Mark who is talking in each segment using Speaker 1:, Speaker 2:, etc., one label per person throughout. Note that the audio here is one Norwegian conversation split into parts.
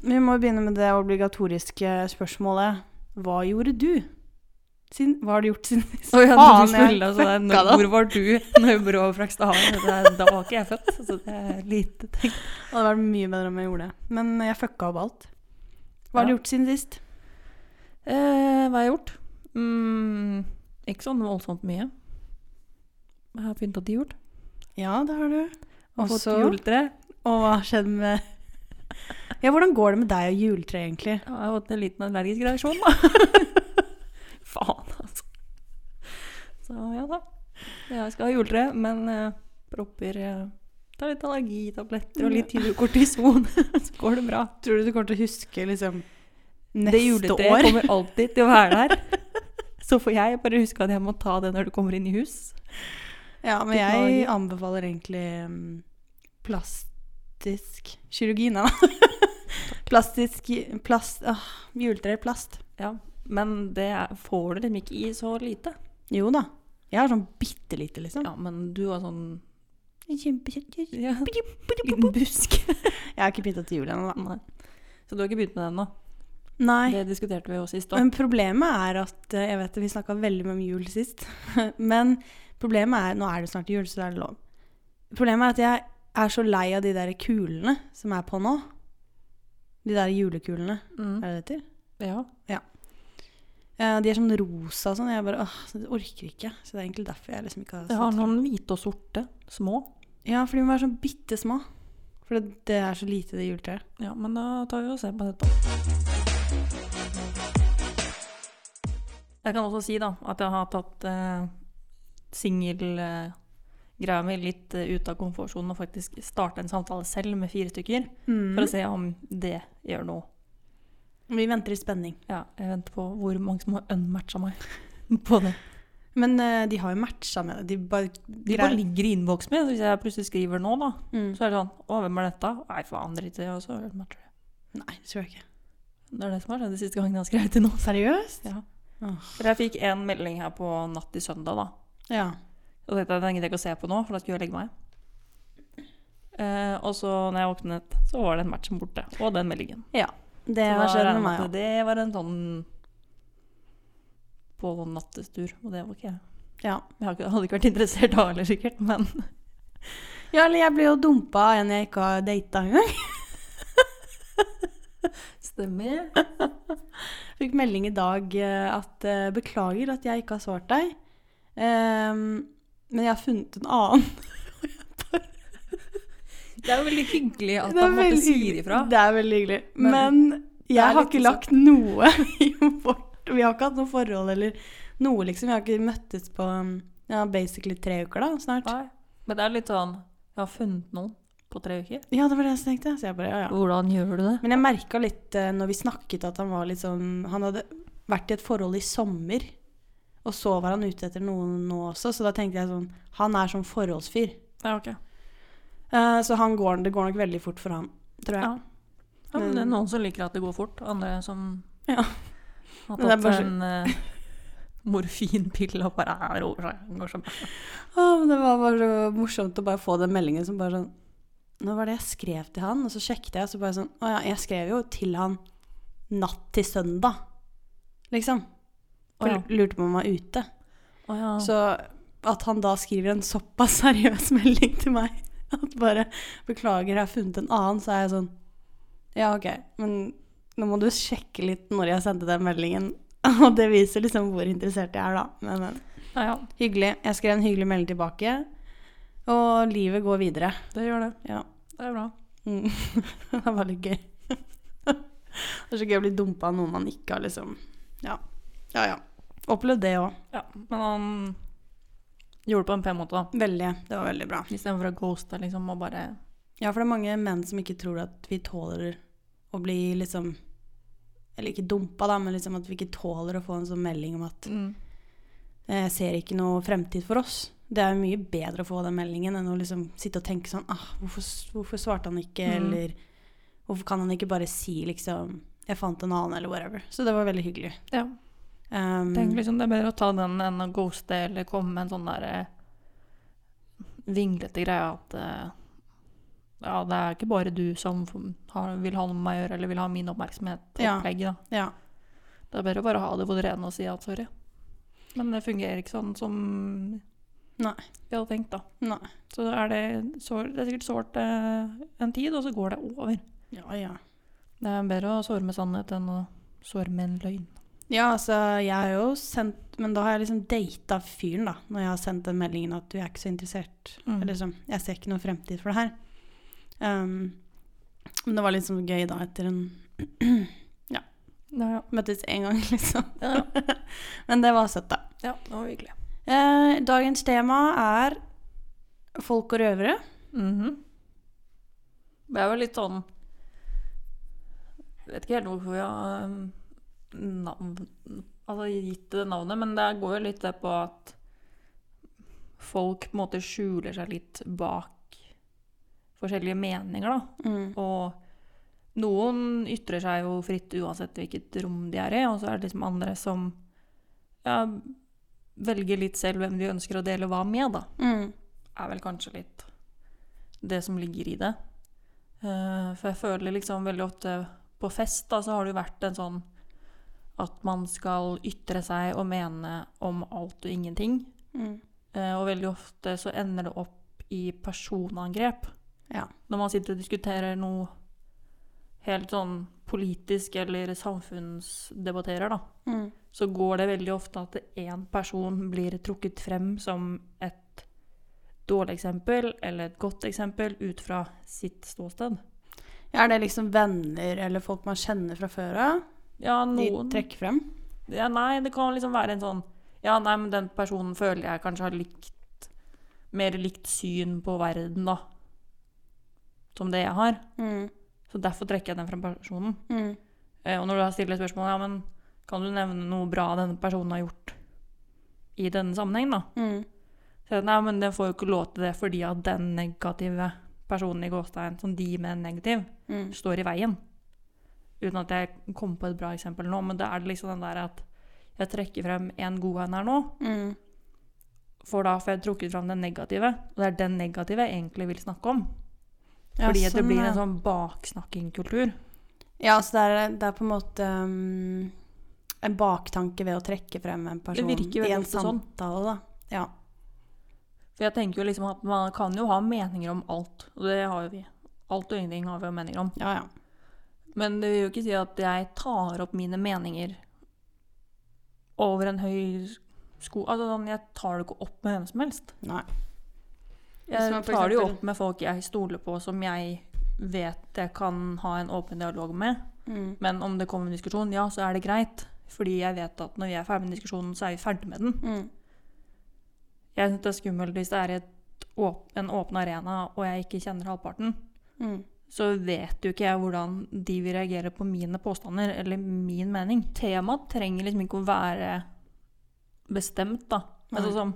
Speaker 1: vi må begynne med det obligatoriske spørsmålet. Hva gjorde du? Siden, hva har du gjort siden sist?
Speaker 2: Oi, ja,
Speaker 1: Faen,
Speaker 2: du skulle, altså, det
Speaker 1: fucka
Speaker 2: er,
Speaker 1: det
Speaker 2: når,
Speaker 1: opp.
Speaker 2: hvor var du når Brå flakk staven? Da var ikke jeg født, så det er lite tenkt.
Speaker 1: Det hadde vært mye bedre om jeg gjorde det. Men jeg fucka opp alt. Hva har du
Speaker 2: Ja.
Speaker 1: gjort siden sist?
Speaker 2: Eh, hva har jeg gjort? Mm, ikke sånn voldsomt mye. Jeg har pynta til jul.
Speaker 1: Ja, det har du.
Speaker 2: Og fått
Speaker 1: Også-
Speaker 2: juletre.
Speaker 1: Og hva har skjedd med Ja, hvordan går det med deg og juletre, egentlig?
Speaker 2: Ja, Jeg har fått en liten allergisk reaksjon, da. Faen, altså. Så ja da. Jeg skal ha juletre, men eh, propper eh, Tar litt allergitabletter og litt hydrokortison, så går det bra.
Speaker 1: Tror du du kommer til å huske liksom
Speaker 2: det
Speaker 1: neste
Speaker 2: juletreet
Speaker 1: år?
Speaker 2: kommer alltid til å være der. Så får jeg bare huske at jeg må ta det når du kommer inn i hus.
Speaker 1: Ja, men
Speaker 2: Ditt
Speaker 1: jeg
Speaker 2: mage.
Speaker 1: anbefaler egentlig mm, plastisk kirurgi, nei da. Plastisk plast, åh, Juletre i plast.
Speaker 2: Ja, men det er- får du liksom ikke i så lite.
Speaker 1: Jo da. Jeg har sånn bitte lite, liksom.
Speaker 2: Ja, men du har sånn
Speaker 1: Kjempe-
Speaker 2: ja, liten busk.
Speaker 1: Jeg har ikke pynta til jul ennå, da.
Speaker 2: Nei. Så du har ikke begynt med den ennå?
Speaker 1: Nei.
Speaker 2: Det diskuterte vi jo sist òg.
Speaker 1: Men problemet er at eh, Jeg vet det, vi snakka veldig mye om jul sist. Men problemet er Nå er det snart jul, så da er det lov. Problemet er at jeg er så lei av de der kulene som er på nå. De der julekulene. Er
Speaker 2: Mm.
Speaker 1: det det heter?
Speaker 2: Ja.
Speaker 1: Eh, De er sånn rosa og sånn. Jeg bare åh, så jeg orker ikke. Så det er egentlig derfor jeg liksom ikke har
Speaker 2: Jeg har
Speaker 1: satt
Speaker 2: noen hvite og sorte. Små.
Speaker 1: Ja, for de må være sånn bitte små. For det, det er så lite, det juletreet.
Speaker 2: Ja, men da tar vi og ser på det etterpå. Jeg kan også si da, at jeg har tatt eh, singelgreia mi litt eh, ut av komfortsonen og faktisk starta en samtale selv med fire stykker, for å se om det gjør noe.
Speaker 1: Vi venter i spenning.
Speaker 2: Ja, jeg venter på hvor mange som har unmatcha meg på det.
Speaker 1: Men eh, de har jo matcha med det. De bare
Speaker 2: De bare ligger i innboksen min, så hvis jeg plutselig skriver nå, da,
Speaker 1: Mm.
Speaker 2: så er det sånn Å, hvem er dette? Nei, faen, drit i det. Og så unmatcher jeg.
Speaker 1: Nei, det tror jeg ikke.
Speaker 2: Det er det som har skjedd de siste gangene jeg har skrevet til noen.
Speaker 1: Seriøst?
Speaker 2: Ja.
Speaker 1: Åh.
Speaker 2: For jeg fikk en melding her på natt til søndag, da.
Speaker 1: Ja.
Speaker 2: Og tenkte jeg, den gidder jeg ikke å se på nå, for da skulle jeg legge meg. Eh, og så når jeg våknet, så var den matchen borte. Og den meldingen.
Speaker 1: Det
Speaker 2: Så da
Speaker 1: har skjedd
Speaker 2: regner jeg
Speaker 1: med
Speaker 2: med
Speaker 1: meg
Speaker 2: at
Speaker 1: òg.
Speaker 2: Det var en sånn på nattestur, og det var ikke jeg.
Speaker 1: Ja.
Speaker 2: Jeg har ikke- hadde ikke vært interessert da heller, sikkert, men
Speaker 1: ja, eller jeg ble jo dumpa av en jeg ikke har data engang.
Speaker 2: Stemmer.
Speaker 1: Fikk melding i dag eh, at eh, beklager at jeg ikke har svart deg, Ehm, men jeg har funnet en annen.
Speaker 2: Det er jo veldig hyggelig at han måtte si
Speaker 1: hyggelig.
Speaker 2: det ifra.
Speaker 1: Det er veldig hyggelig.
Speaker 2: Men
Speaker 1: Men,
Speaker 2: er
Speaker 1: jeg har
Speaker 2: litt sånn
Speaker 1: ikke lagt noe i vårt Vi har ikke hatt noe forhold eller noe, liksom. Vi har ikke møttes på ja, basically tre uker da, snart.
Speaker 2: Nei. Men det er litt sånn Jeg har funnet noen på tre uker.
Speaker 1: Ja, det var det jeg tenkte. Så jeg bare, ja, ja.
Speaker 2: Hvordan gjør du det?
Speaker 1: Men jeg merka litt eh, når vi snakket at han var litt sånn Han hadde vært i et forhold i sommer, og så var han ute etter noen nå også, så da tenkte jeg sånn Han er sånn forholdsfyr.
Speaker 2: Ja, ok.
Speaker 1: Eh, så han går, det går nok veldig fort for han, tror jeg.
Speaker 2: Ja. Ja, men det er
Speaker 1: Men-
Speaker 2: noen som liker at det går fort, andre som
Speaker 1: Mm. Ja. Men
Speaker 2: har
Speaker 1: det er
Speaker 2: tatt
Speaker 1: bare
Speaker 2: seg en eh, morfinpille og bare er over seg. det Går så bra.
Speaker 1: Å, men det var bare så morsomt å bare få den meldingen som bare sånn Nå var det jeg skrev til han, og så sjekket jeg, og så bare sånn Å ja, jeg skrev jo til han natt til søndag, liksom.
Speaker 2: Å
Speaker 1: For
Speaker 2: ja.
Speaker 1: lurte på om han var ute.
Speaker 2: Å ja.
Speaker 1: Så at han da skriver en såpass seriøs melding til meg at bare 'Beklager, jeg har funnet en annen', så er jeg sånn Ja, OK, men nå må du sjekke litt når jeg sendte den meldingen. Og det viser liksom hvor interessert jeg er, da. Men, men.
Speaker 2: ja, ja.
Speaker 1: Hyggelig. Jeg skrev en hyggelig melding tilbake. Og livet går videre.
Speaker 2: Det gjør det.
Speaker 1: Ja.
Speaker 2: Det er bra.
Speaker 1: Mm. det var litt gøy. det er så gøy å bli dumpa av noen man ikke har liksom Ja, ja. ja. Opplevd det òg.
Speaker 2: Ja, men han gjorde det på en pen måte, da.
Speaker 1: Veldig. Det var veldig bra.
Speaker 2: Istedenfor å ghoste, liksom, og bare
Speaker 1: Ja, for det er mange menn som ikke tror at vi tåler å bli liksom Eller ikke dumpa, da, men liksom at vi ikke tåler å få en sånn melding om at
Speaker 2: mm.
Speaker 1: eh, jeg ser ikke noe fremtid for oss. Det er jo mye bedre å få den meldingen enn å liksom sitte og tenke sånn ah, hvorfor, hvorfor svarte han ikke,
Speaker 2: Mm.
Speaker 1: eller hvorfor kan han ikke bare si liksom jeg fant en annen, eller whatever. Så det var veldig hyggelig.
Speaker 2: Ja.
Speaker 1: Um,
Speaker 2: Tenk liksom det er bedre å ta den enn å ghoste eller komme med en sånn derre vinglete greie at eh, Ja, det er ikke bare du som f- har, vil ha noe med meg å gjøre, eller vil ha min oppmerksomhet og
Speaker 1: Ja.
Speaker 2: opplegg, da.
Speaker 1: Ja.
Speaker 2: Det er bedre å bare ha det på det rene og si at sorry. Men det fungerer ikke sånn som
Speaker 1: Nei.
Speaker 2: vi hadde tenkt, da.
Speaker 1: Nei.
Speaker 2: Så er det, sår, det er sikkert sårt eh, en tid, og så går det over.
Speaker 1: Ja, ja.
Speaker 2: Det er bedre å såre med sannhet enn å såre med en løgn.
Speaker 1: Ja, altså, jeg har jo sendt Men da har jeg liksom data fyren, da. Når jeg har sendt den meldingen at du er ikke så interessert.
Speaker 2: Mm.
Speaker 1: Eller sånn, jeg ser ikke noe fremtid for det her. Um, men det var liksom gøy da, etter en
Speaker 2: Ja, ja.
Speaker 1: Møttes én gang, liksom.
Speaker 2: Ja,
Speaker 1: men det var søtt, da.
Speaker 2: ja, det var hyggelig.
Speaker 1: Eh, dagens tema er folk og røvere.
Speaker 2: Mhm. Det er jo litt sånn Vet ikke helt hvorfor jeg har um, navn, altså gitt det navnet, men det går jo litt det på at folk på en måte skjuler seg litt bak forskjellige meninger, da. Og noen ytrer seg jo fritt uansett hvilket rom de er i, og så er det liksom andre som ja, velger litt selv hvem de ønsker å dele hva med, da
Speaker 1: Mm.
Speaker 2: er vel kanskje litt det som ligger i det. Eh, for jeg føler liksom veldig ofte på fest da, så har det jo vært en sånn at man skal ytre seg og mene om alt og ingenting.
Speaker 1: Mm.
Speaker 2: Eh, og veldig ofte så ender det opp i personangrep.
Speaker 1: Ja.
Speaker 2: Når man sitter og diskuterer noe helt sånn politisk eller samfunnsdebatterer, da
Speaker 1: Mm.
Speaker 2: så går det veldig ofte at én person blir trukket frem som et dårlig eksempel eller et godt eksempel ut fra sitt ståsted.
Speaker 1: Ja, Er det liksom venner eller folk man kjenner fra før av?
Speaker 2: Ja,
Speaker 1: De
Speaker 2: noen
Speaker 1: trekker frem?
Speaker 2: ja, Nei, det kan liksom være en sånn Ja, nei, men den personen føler jeg kanskje har likt Mer likt syn på verden, da. Som det jeg har.
Speaker 1: Mm.
Speaker 2: Så derfor trekker jeg den frem personen.
Speaker 1: Mm.
Speaker 2: Eh, Og når du da stiller spørsmålet ja, men kan du nevne noe bra denne personen har gjort i denne sammenhengen, da?
Speaker 1: Mm.
Speaker 2: Så jeg, nei, men den får jo ikke lov til det fordi at den negative personen i gåstein, som de mener negativ,
Speaker 1: Mm.
Speaker 2: står i veien. Uten at jeg kom på et bra eksempel nå, men da er det liksom den der at jeg trekker frem en god en her nå,
Speaker 1: Mm.
Speaker 2: for da får jeg trukket frem den negative, og det er den negative jeg egentlig vil snakke om.
Speaker 1: Ja,
Speaker 2: Fordi at det
Speaker 1: sånn,
Speaker 2: blir
Speaker 1: ja.
Speaker 2: en sånn baksnakkingkultur.
Speaker 1: Ja, altså det er, det er på en måte um, en baktanke ved å trekke frem en person
Speaker 2: virker jo
Speaker 1: i en
Speaker 2: ofte sånn.
Speaker 1: samtale, da. Ja.
Speaker 2: For jeg tenker jo liksom at man kan jo ha meninger om alt, og det har jo vi. Alt og ingenting har vi jo meninger om.
Speaker 1: Ja, ja.
Speaker 2: Men det vil jo ikke si at jeg tar opp mine meninger over en høy sko... Altså, sånn, jeg tar det ikke opp med hvem som helst.
Speaker 1: Nei. Hvis
Speaker 2: Jeg
Speaker 1: man for
Speaker 2: tar det jo
Speaker 1: eksempel-
Speaker 2: opp med folk jeg stoler på, som jeg vet jeg kan ha en åpen dialog med.
Speaker 1: Mm.
Speaker 2: Men om det kommer en diskusjon, ja, så er det greit. Fordi jeg vet at når vi er ferdig med diskusjonen, så er vi ferdig med den.
Speaker 1: Mm.
Speaker 2: Jeg syns det er skummelt hvis det er et åp en åpen arena og jeg ikke kjenner halvparten.
Speaker 1: Mm.
Speaker 2: så vet jo ikke jeg hvordan de vil reagere på mine påstander eller min mening. Temaet trenger liksom ikke å være bestemt, da.
Speaker 1: Nei.
Speaker 2: Altså som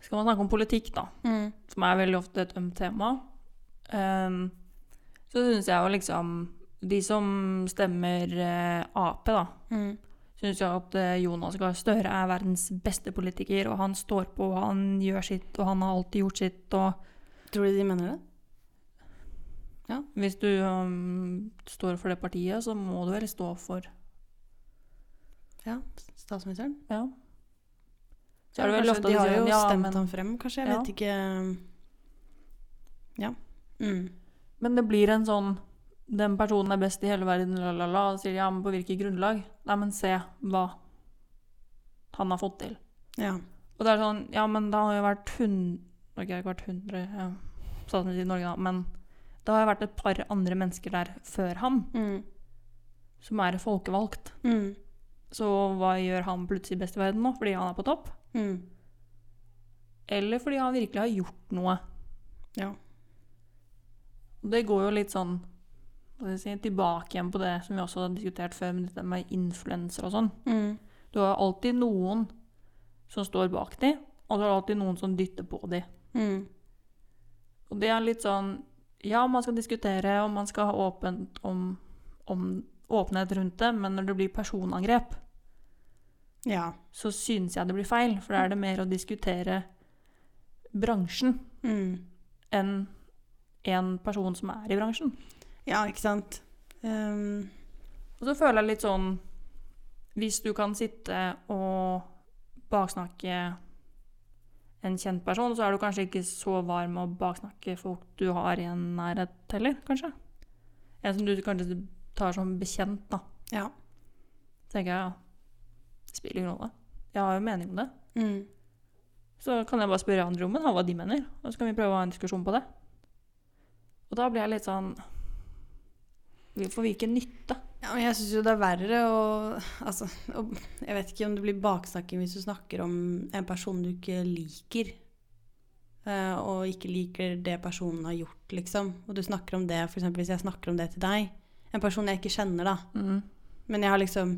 Speaker 2: Skal man snakke om politikk, da,
Speaker 1: Mm.
Speaker 2: som er veldig ofte et ømt tema, ehm, så syns jeg jo liksom De som stemmer eh, Ap, da,
Speaker 1: Mm.
Speaker 2: syns jo at eh, Jonas Gahr Støre er verdens beste politiker, og han står på, og han gjør sitt, og han har alltid gjort sitt, og
Speaker 1: Tror du de mener det?
Speaker 2: Hvis du um, står for det partiet, så må du vel stå for
Speaker 1: Ja, statsministeren?
Speaker 2: Ja. Så
Speaker 1: Ja,
Speaker 2: er det vel
Speaker 1: kanskje
Speaker 2: ofte
Speaker 1: de
Speaker 2: de
Speaker 1: har
Speaker 2: sier,
Speaker 1: jo
Speaker 2: ja,
Speaker 1: stemt
Speaker 2: men-
Speaker 1: ham frem, kanskje? Jeg
Speaker 2: Ja.
Speaker 1: vet ikke Ja. Mm.
Speaker 2: Men det blir en sånn Den personen er best i hele verden, la, la, la. Og sier de, ja, men på hvilket grunnlag? Nei, men se hva han har fått til.
Speaker 1: Ja.
Speaker 2: Og det er sånn Ja, men det har jo vært hun... Ok, det har ikke vært 100 ja, statsminister i Norge, da, men det har jo vært et par andre mennesker der før han,
Speaker 1: Mm.
Speaker 2: som er folkevalgt.
Speaker 1: Mm.
Speaker 2: Så hva gjør han plutselig best i verden nå, fordi han er på topp?
Speaker 1: Mm.
Speaker 2: Eller fordi han virkelig har gjort noe?
Speaker 1: Ja.
Speaker 2: Og Det går jo litt sånn hva skal jeg si, tilbake igjen på det som vi også har diskutert før, med dette med influensere og sånn.
Speaker 1: Mm.
Speaker 2: Du har alltid noen som står bak de, og du har alltid noen som dytter på de.
Speaker 1: Mm.
Speaker 2: Og det er litt sånn Ja, man skal diskutere, og man skal ha åpent om, om åpenhet rundt det, men når det blir personangrep,
Speaker 1: Ja.
Speaker 2: så syns jeg det blir feil, for da er det mer å diskutere bransjen
Speaker 1: Mm.
Speaker 2: enn én person som er i bransjen.
Speaker 1: Ja, ikke sant. Ehm,
Speaker 2: Og så føler jeg litt sånn Hvis du kan sitte og baksnakke en kjent person, så er du kanskje ikke så varm med å baksnakke folk du har i en nærhet heller, kanskje. En som du kanskje tar som bekjent, da.
Speaker 1: ja.
Speaker 2: Tenker jeg, ja. Spiller ingen rolle. Jeg har jo mening om det.
Speaker 1: Mm.
Speaker 2: Så kan jeg bare spørre andre om det, hva de mener, og så kan vi prøve å ha en diskusjon på det. Og da blir jeg litt sånn For hvilken nytte?
Speaker 1: Ja, men jeg syns jo det er verre å Altså, å, jeg vet ikke om det blir baksnakking hvis du snakker om en person du ikke liker. eh, og ikke liker det personen har gjort, liksom. Og du snakker om det, f.eks. hvis jeg snakker om det til deg. En person jeg ikke kjenner, da.
Speaker 2: Mm.
Speaker 1: Men jeg har liksom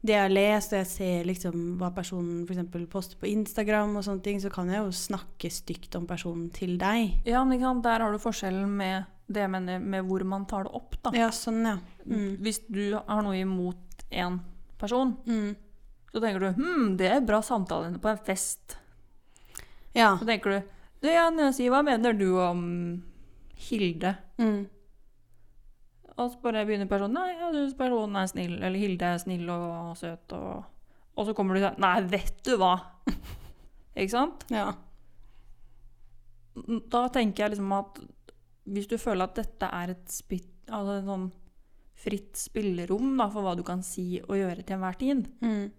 Speaker 1: Det jeg har lest, og jeg ser liksom hva personen for eksempel poster på Instagram, og sånne ting, så kan jeg jo snakke stygt om personen til deg.
Speaker 2: Ja, men ikke sant? der har du forskjellen med det jeg mener med hvor man tar det opp. da.
Speaker 1: Ja, sånn, ja. Mm.
Speaker 2: Hvis du har noe imot en person,
Speaker 1: Mm.
Speaker 2: så tenker du hm, det er bra samtale på en fest.
Speaker 1: Ja.
Speaker 2: Så tenker du du Jan, si, hva mener du om Hilde?
Speaker 1: Mm.
Speaker 2: Og så bare begynner personen nei, jeg syns personen er snill, eller Hilde er snill og søt. Og, og så kommer du sånn Nei, vet du hva! ikke sant?
Speaker 1: Ja.
Speaker 2: Da tenker jeg liksom at hvis du føler at dette er et spitt, altså en sånn fritt spillerom da, for hva du kan si og gjøre til enhver tid,
Speaker 1: Mm.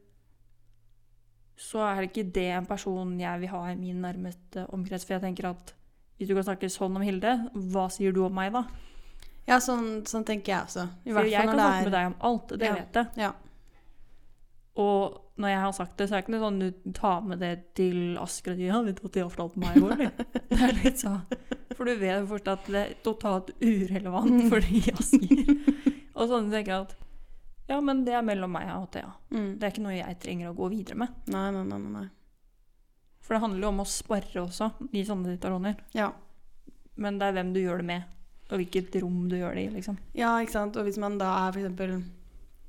Speaker 2: så er det ikke det en person jeg vil ha i min nærmeste omkrets. For jeg tenker at hvis du kan snakke sånn om Hilde, hva sier du om meg da?
Speaker 1: Ja, sånn, sånn tenker jeg også. I
Speaker 2: For
Speaker 1: hvert
Speaker 2: jeg
Speaker 1: fall
Speaker 2: kan
Speaker 1: når
Speaker 2: snakke med
Speaker 1: det er
Speaker 2: deg om alt, det
Speaker 1: Ja.
Speaker 2: vet jeg.
Speaker 1: Ja.
Speaker 2: Og når jeg har sagt det, så er det ikke noe sånn du tar med det til Asker og sier, ja, vet du hva de har fortalt meg i går, eller? Det er litt sånn. For du vet jo først at det er totalt urelevant
Speaker 1: Mm.
Speaker 2: for de i Asker. Og sånn tenker jeg at, ja, men det er mellom meg og Thea.
Speaker 1: Mm.
Speaker 2: Det er ikke noe jeg trenger å gå videre med.
Speaker 1: Nei, nei, nei, nei, nei.
Speaker 2: For det handler jo om å sparre også, i sånne situasjoner.
Speaker 1: Ja.
Speaker 2: Men det er hvem du gjør det med, og hvilket rom du gjør det i. liksom.
Speaker 1: ja, ikke sant. Og hvis man da er for eksempel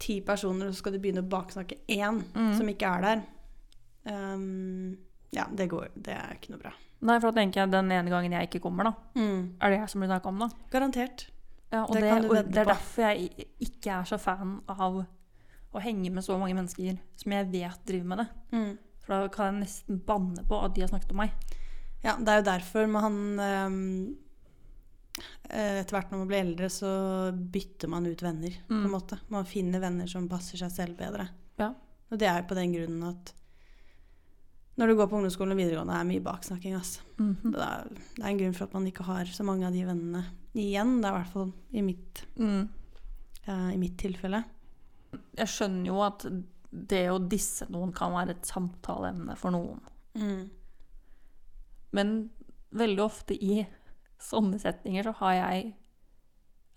Speaker 1: ti personer, og så skal du begynne å baksnakke én
Speaker 2: Mm.
Speaker 1: som ikke er der Ehm, Ja, det går Det er ikke noe bra. Mm.
Speaker 2: Nei, for da tenker jeg den ene gangen jeg ikke kommer, da, er det jeg som blir snakka om, da.
Speaker 1: Garantert.
Speaker 2: Ja, og
Speaker 1: Det
Speaker 2: det,
Speaker 1: kan du
Speaker 2: og
Speaker 1: vedde
Speaker 2: det er
Speaker 1: på.
Speaker 2: derfor jeg i- ikke er så fan av å henge med så mange mennesker som jeg vet driver med det.
Speaker 1: Mm.
Speaker 2: For da kan jeg nesten banne på at de har snakket om meg.
Speaker 1: Ja, det er jo derfor men han ehm, eh, Etter hvert når man blir eldre, så bytter man ut venner, på en
Speaker 2: Mm.
Speaker 1: måte. Man finner venner som passer seg selv bedre.
Speaker 2: Ja.
Speaker 1: Og det er jo på den grunnen at når du går på ungdomsskolen og videregående, er det mye baksnakking. ass.
Speaker 2: Mhm.
Speaker 1: Det, er, det er en grunn for at man ikke har så mange av de vennene igjen. Det er i hvert fall i mitt,
Speaker 2: Mm.
Speaker 1: eh, i mitt tilfelle.
Speaker 2: Jeg skjønner jo at det å disse noen kan være et samtaleemne for noen. Mm. Men veldig ofte i sånne setninger så har jeg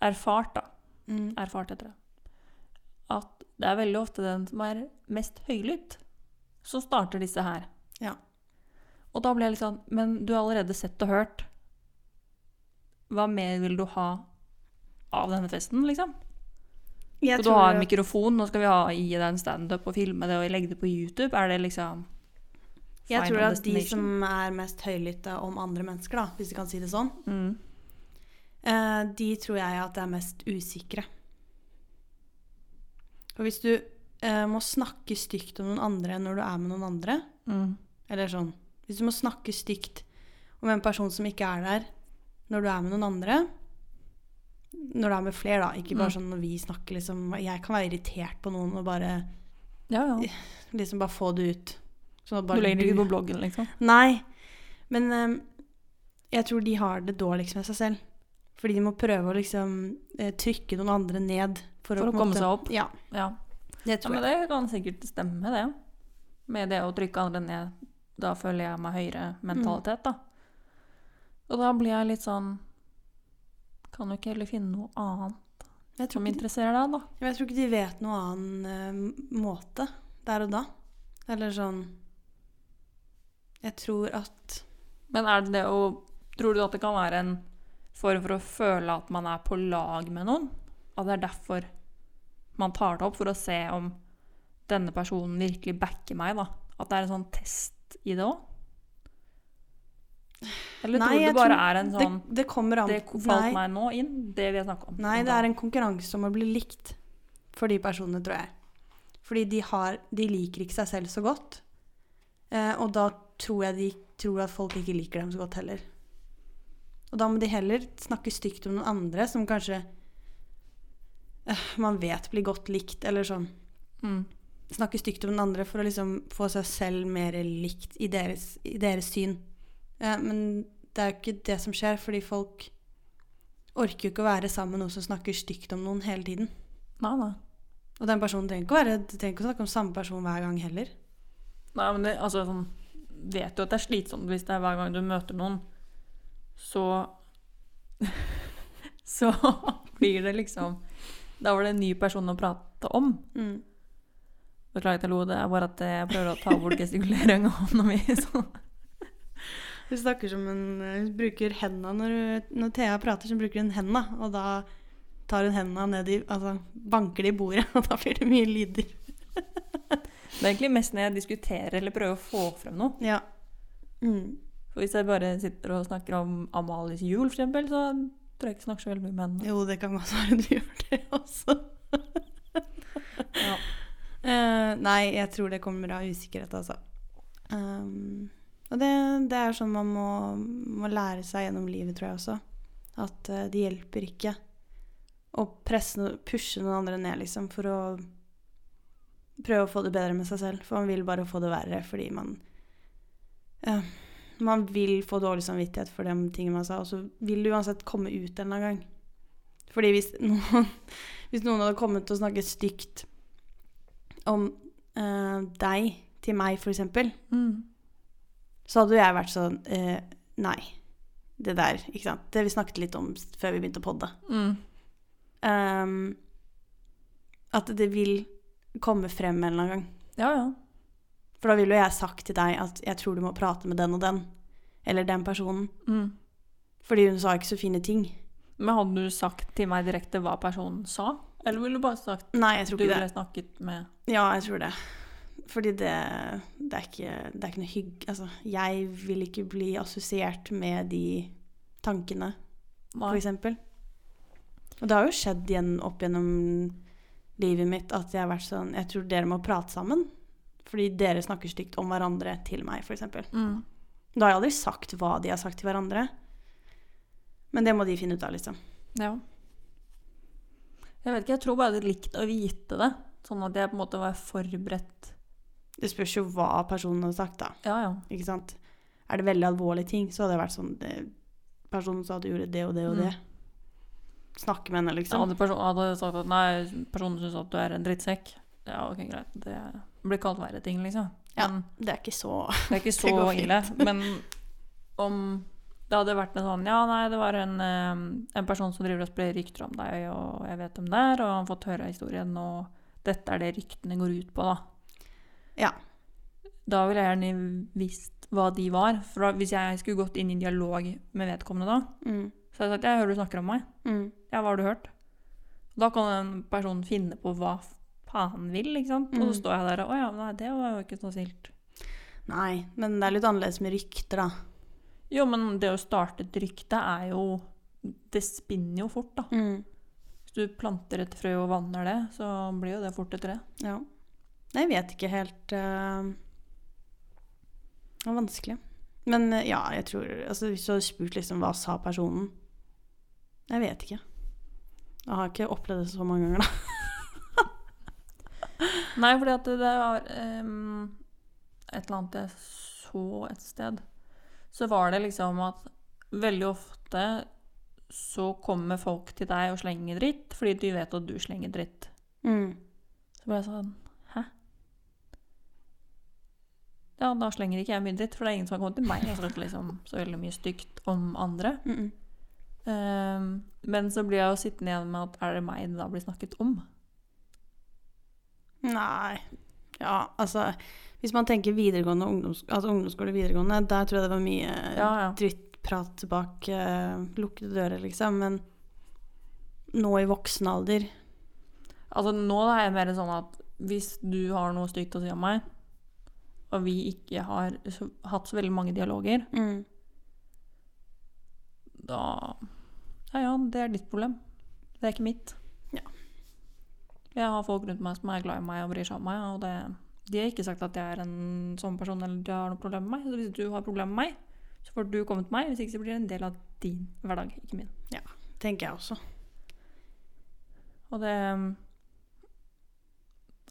Speaker 2: erfart, da,
Speaker 1: Mm.
Speaker 2: erfart etter det, at det er veldig ofte den som er mest høylytt, som starter disse her.
Speaker 1: Ja.
Speaker 2: Og da blir jeg litt sånn Men du har allerede sett og hørt. Hva mer vil du ha av denne festen, liksom?
Speaker 1: Jeg
Speaker 2: Skal du ha
Speaker 1: tror-
Speaker 2: en mikrofon, nå skal vi ha i deg en standup og filme det og legge det på YouTube? Er det liksom
Speaker 1: Jeg tror
Speaker 2: final
Speaker 1: at de
Speaker 2: destination?
Speaker 1: som er mest høylytte om andre mennesker, da, hvis du kan si det sånn,
Speaker 2: mm.
Speaker 1: eh, de tror jeg at er mest usikre. Og hvis du eh, må snakke stygt om noen andre når du er med noen andre,
Speaker 2: Mm.
Speaker 1: Eller sånn. Hvis du må snakke stygt om en person som ikke er der, når du er med noen andre Når du er med flere, da. Ikke bare
Speaker 2: Mm.
Speaker 1: sånn når vi snakker, liksom. Jeg kan være irritert på noen og bare,
Speaker 2: Ja, ja.
Speaker 1: liksom, bare få det ut. Sånn at
Speaker 2: Du
Speaker 1: bare
Speaker 2: legger det ikke på bloggen, liksom?
Speaker 1: Nei. Men eh, jeg tror de har det dårligst med seg selv. Fordi de må prøve å liksom eh, trykke noen andre ned for,
Speaker 2: For
Speaker 1: på
Speaker 2: å
Speaker 1: en
Speaker 2: komme
Speaker 1: måte-
Speaker 2: seg opp?
Speaker 1: Ja,
Speaker 2: Ja.
Speaker 1: det
Speaker 2: Ja,
Speaker 1: tror
Speaker 2: men
Speaker 1: jeg.
Speaker 2: det kan sikkert stemme, det. Med det å trykke andre ned. Da føler jeg meg høyere mentalitet, da. Og da blir jeg litt sånn Kan jo ikke heller finne noe annet
Speaker 1: Jeg
Speaker 2: som
Speaker 1: tror ikke
Speaker 2: interesserer deg, da.
Speaker 1: Men jeg tror ikke de vet noen annen eh, m- måte der og da. Eller sånn Jeg tror at
Speaker 2: Men er det det å Tror du at det kan være en form for å føle at man er på lag med noen? At det er derfor man tar det opp, for å se om denne personen virkelig backer meg, da. At det er en sånn test i det òg? Eller
Speaker 1: Nei,
Speaker 2: tror du
Speaker 1: jeg
Speaker 2: det bare
Speaker 1: tror-
Speaker 2: er en sånn
Speaker 1: det, det kommer an
Speaker 2: Det falt meg nå inn, det vi har snakka om.
Speaker 1: Nei, det er en konkurranse om å bli likt for de personene, tror jeg. Fordi de, har, de liker ikke seg selv så godt. Eh, og da tror jeg de tror at folk ikke liker dem så godt heller. Og da må de heller snakke stygt om noen andre som kanskje eh, man vet blir godt likt, eller sånn.
Speaker 2: mm.
Speaker 1: Snakke stygt om den andre for å liksom få seg selv mer likt i deres, i deres syn. Eh, men det er jo ikke det som skjer, fordi folk orker jo ikke å være sammen med noen som snakker stygt om noen hele tiden.
Speaker 2: Nei, nei.
Speaker 1: Og den personen trenger ikke å, være, trenger ikke å snakke om samme person hver gang heller.
Speaker 2: Nei, men det, altså, sånn, vet jo at det er slitsomt hvis det er hver gang du møter noen, så Så blir det liksom Da var det en ny person å prate om.
Speaker 1: Mm.
Speaker 2: Beklager at jeg lo, det er bare at jeg prøver å ta bort gestikuleringa hånda mi. Sånn.
Speaker 1: Hun snakker som en Hun bruker henda når, hun- når Thea prater, så bruker hun henda, og da tar hun henda ned i Altså banker det i bordet, og da blir det mye lyder.
Speaker 2: Det er egentlig mest når jeg diskuterer eller prøver å få frem noe.
Speaker 1: Ja. Mm.
Speaker 2: For hvis jeg bare sitter og snakker om Amalies jul, for eksempel, så tror jeg ikke jeg snakker så veldig mye med henne.
Speaker 1: Jo, det kan godt være du gjør det også.
Speaker 2: Ja.
Speaker 1: Eh, nei, jeg tror det kommer av usikkerhet, altså. Um, og det, det er sånn man må, må lære seg gjennom livet, tror jeg også. At eh, det hjelper ikke å presse, no- pushe noen andre ned, liksom, for å prøve å få det bedre med seg selv. For man vil bare få det verre fordi man eh, Man vil få dårlig samvittighet for de tingene man sa, og så vil det uansett komme ut en eller annen gang. Fordi hvis noen, hvis noen hadde kommet til å snakke stygt om eh, deg til meg, for eksempel,
Speaker 2: Mm.
Speaker 1: så hadde jo jeg vært sånn eh, Nei. Det der, ikke sant. Det vi snakket litt om s- før vi begynte å podde.
Speaker 2: Mm.
Speaker 1: Ehm, at det vil komme frem en eller annen gang.
Speaker 2: Ja, ja.
Speaker 1: For da ville jo jeg sagt til deg at jeg tror du må prate med den og den. Eller den personen.
Speaker 2: Mm.
Speaker 1: Fordi hun sa ikke så fine ting.
Speaker 2: Men hadde du sagt til meg direkte hva personen sa? Eller ville du bare sagt
Speaker 1: Nei, jeg
Speaker 2: du
Speaker 1: tror ikke det.
Speaker 2: ville snakket med
Speaker 1: Ja, jeg tror det. Fordi det, det, er, ikke, det er ikke noe hygg... Altså, jeg vil ikke bli assosiert med de tankene. for
Speaker 2: Nei.
Speaker 1: eksempel. Og det har jo skjedd igjen opp gjennom livet mitt at jeg har vært sånn Jeg tror dere må prate sammen. Fordi dere snakker stygt om hverandre til meg, f.eks.
Speaker 2: Mm.
Speaker 1: Da har jeg aldri sagt hva de har sagt til hverandre. Men det må de finne ut av, liksom.
Speaker 2: Ja. Jeg vet ikke, jeg tror bare det er likt å vite det. Sånn at jeg på en måte var forberedt.
Speaker 1: Det spørs jo hva personen har sagt, da.
Speaker 2: Ja, ja.
Speaker 1: Ikke sant? Er det veldig alvorlige ting, så hadde det vært sånn eh, Personen sa at du gjorde det og det og
Speaker 2: Mm.
Speaker 1: det. Snakke med henne,
Speaker 2: Så
Speaker 1: liksom.
Speaker 2: hadde personen hadde sagt at nei, personen syns at du er en drittsekk. Ja, ok, greit. Det blir kalt verre ting, liksom.
Speaker 1: Ja.
Speaker 2: Men
Speaker 1: Det er ikke så
Speaker 2: det er ikke så
Speaker 1: Det går
Speaker 2: ille. Men om det hadde vært en sånn Ja, nei, det var en, eh, en person som driver og sprer rykter om deg, og jeg vet om det er, og han har fått høre historien, og dette er det ryktene går ut på, da.
Speaker 1: Ja.
Speaker 2: Da ville jeg gjerne visst hva de var. For da, hvis jeg skulle gått inn i dialog med vedkommende da,
Speaker 1: mm,
Speaker 2: så hadde jeg sagt jeg hører du snakker om meg.
Speaker 1: mm,
Speaker 2: Ja, hva har du hørt? Da kan den personen finne på hva faen han vil, ikke sant? Og så
Speaker 1: Mm.
Speaker 2: står jeg der og Å ja, nei, det var jo ikke så snilt.
Speaker 1: Nei, men det er litt annerledes med rykter, da.
Speaker 2: Jo, men det å starte et rykte er jo Det spinner jo fort, da.
Speaker 1: Mm.
Speaker 2: Hvis du planter et frø og vanner det, så blir jo det fort et tre.
Speaker 1: Ja. Nei, Jeg vet ikke helt eh, Det var vanskelig. Men eh, ja, jeg tror altså, Hvis du hadde spurt liksom, hva sa personen Jeg vet ikke. Jeg har ikke opplevd det så mange ganger, da.
Speaker 2: Nei, fordi at det var ehm, et eller annet jeg så et sted. Så var det liksom at veldig ofte så kommer folk til deg og slenger dritt fordi de vet at du slenger dritt.
Speaker 1: Mm,
Speaker 2: Så ble jeg sånn Hæ? Ja, da slenger ikke jeg mye dritt, for det er ingen som har kommet til meg og sagt liksom, så veldig mye stygt om andre.
Speaker 1: Mm -mm.
Speaker 2: Ehm, men så blir jeg jo sittende igjen med at er det meg det da blir snakket om?
Speaker 1: Nei. Ja, altså Hvis man tenker videregående og ungdoms, altså, ungdomsskole og videregående, der tror jeg det var mye
Speaker 2: Ja, ja.
Speaker 1: drittprat bak eh, lukkede dører, liksom. Men nå i voksen alder
Speaker 2: Altså nå er jeg mer sånn at hvis du har noe stygt å si om Mm. meg, og vi ikke har så, hatt så veldig mange dialoger, da Ja ja, det er ditt problem. Det er ikke mitt.
Speaker 1: Ja.
Speaker 2: Jeg har folk rundt meg som er glad i meg og bryr seg om meg, og det, de har ikke sagt at jeg er en sånn person eller at jeg har noe problem med meg. Så hvis du har problem med meg, så får du komme til meg. Hvis ikke så blir det en del av din hverdag, ikke min.
Speaker 1: Tenker jeg også.
Speaker 2: Og det um,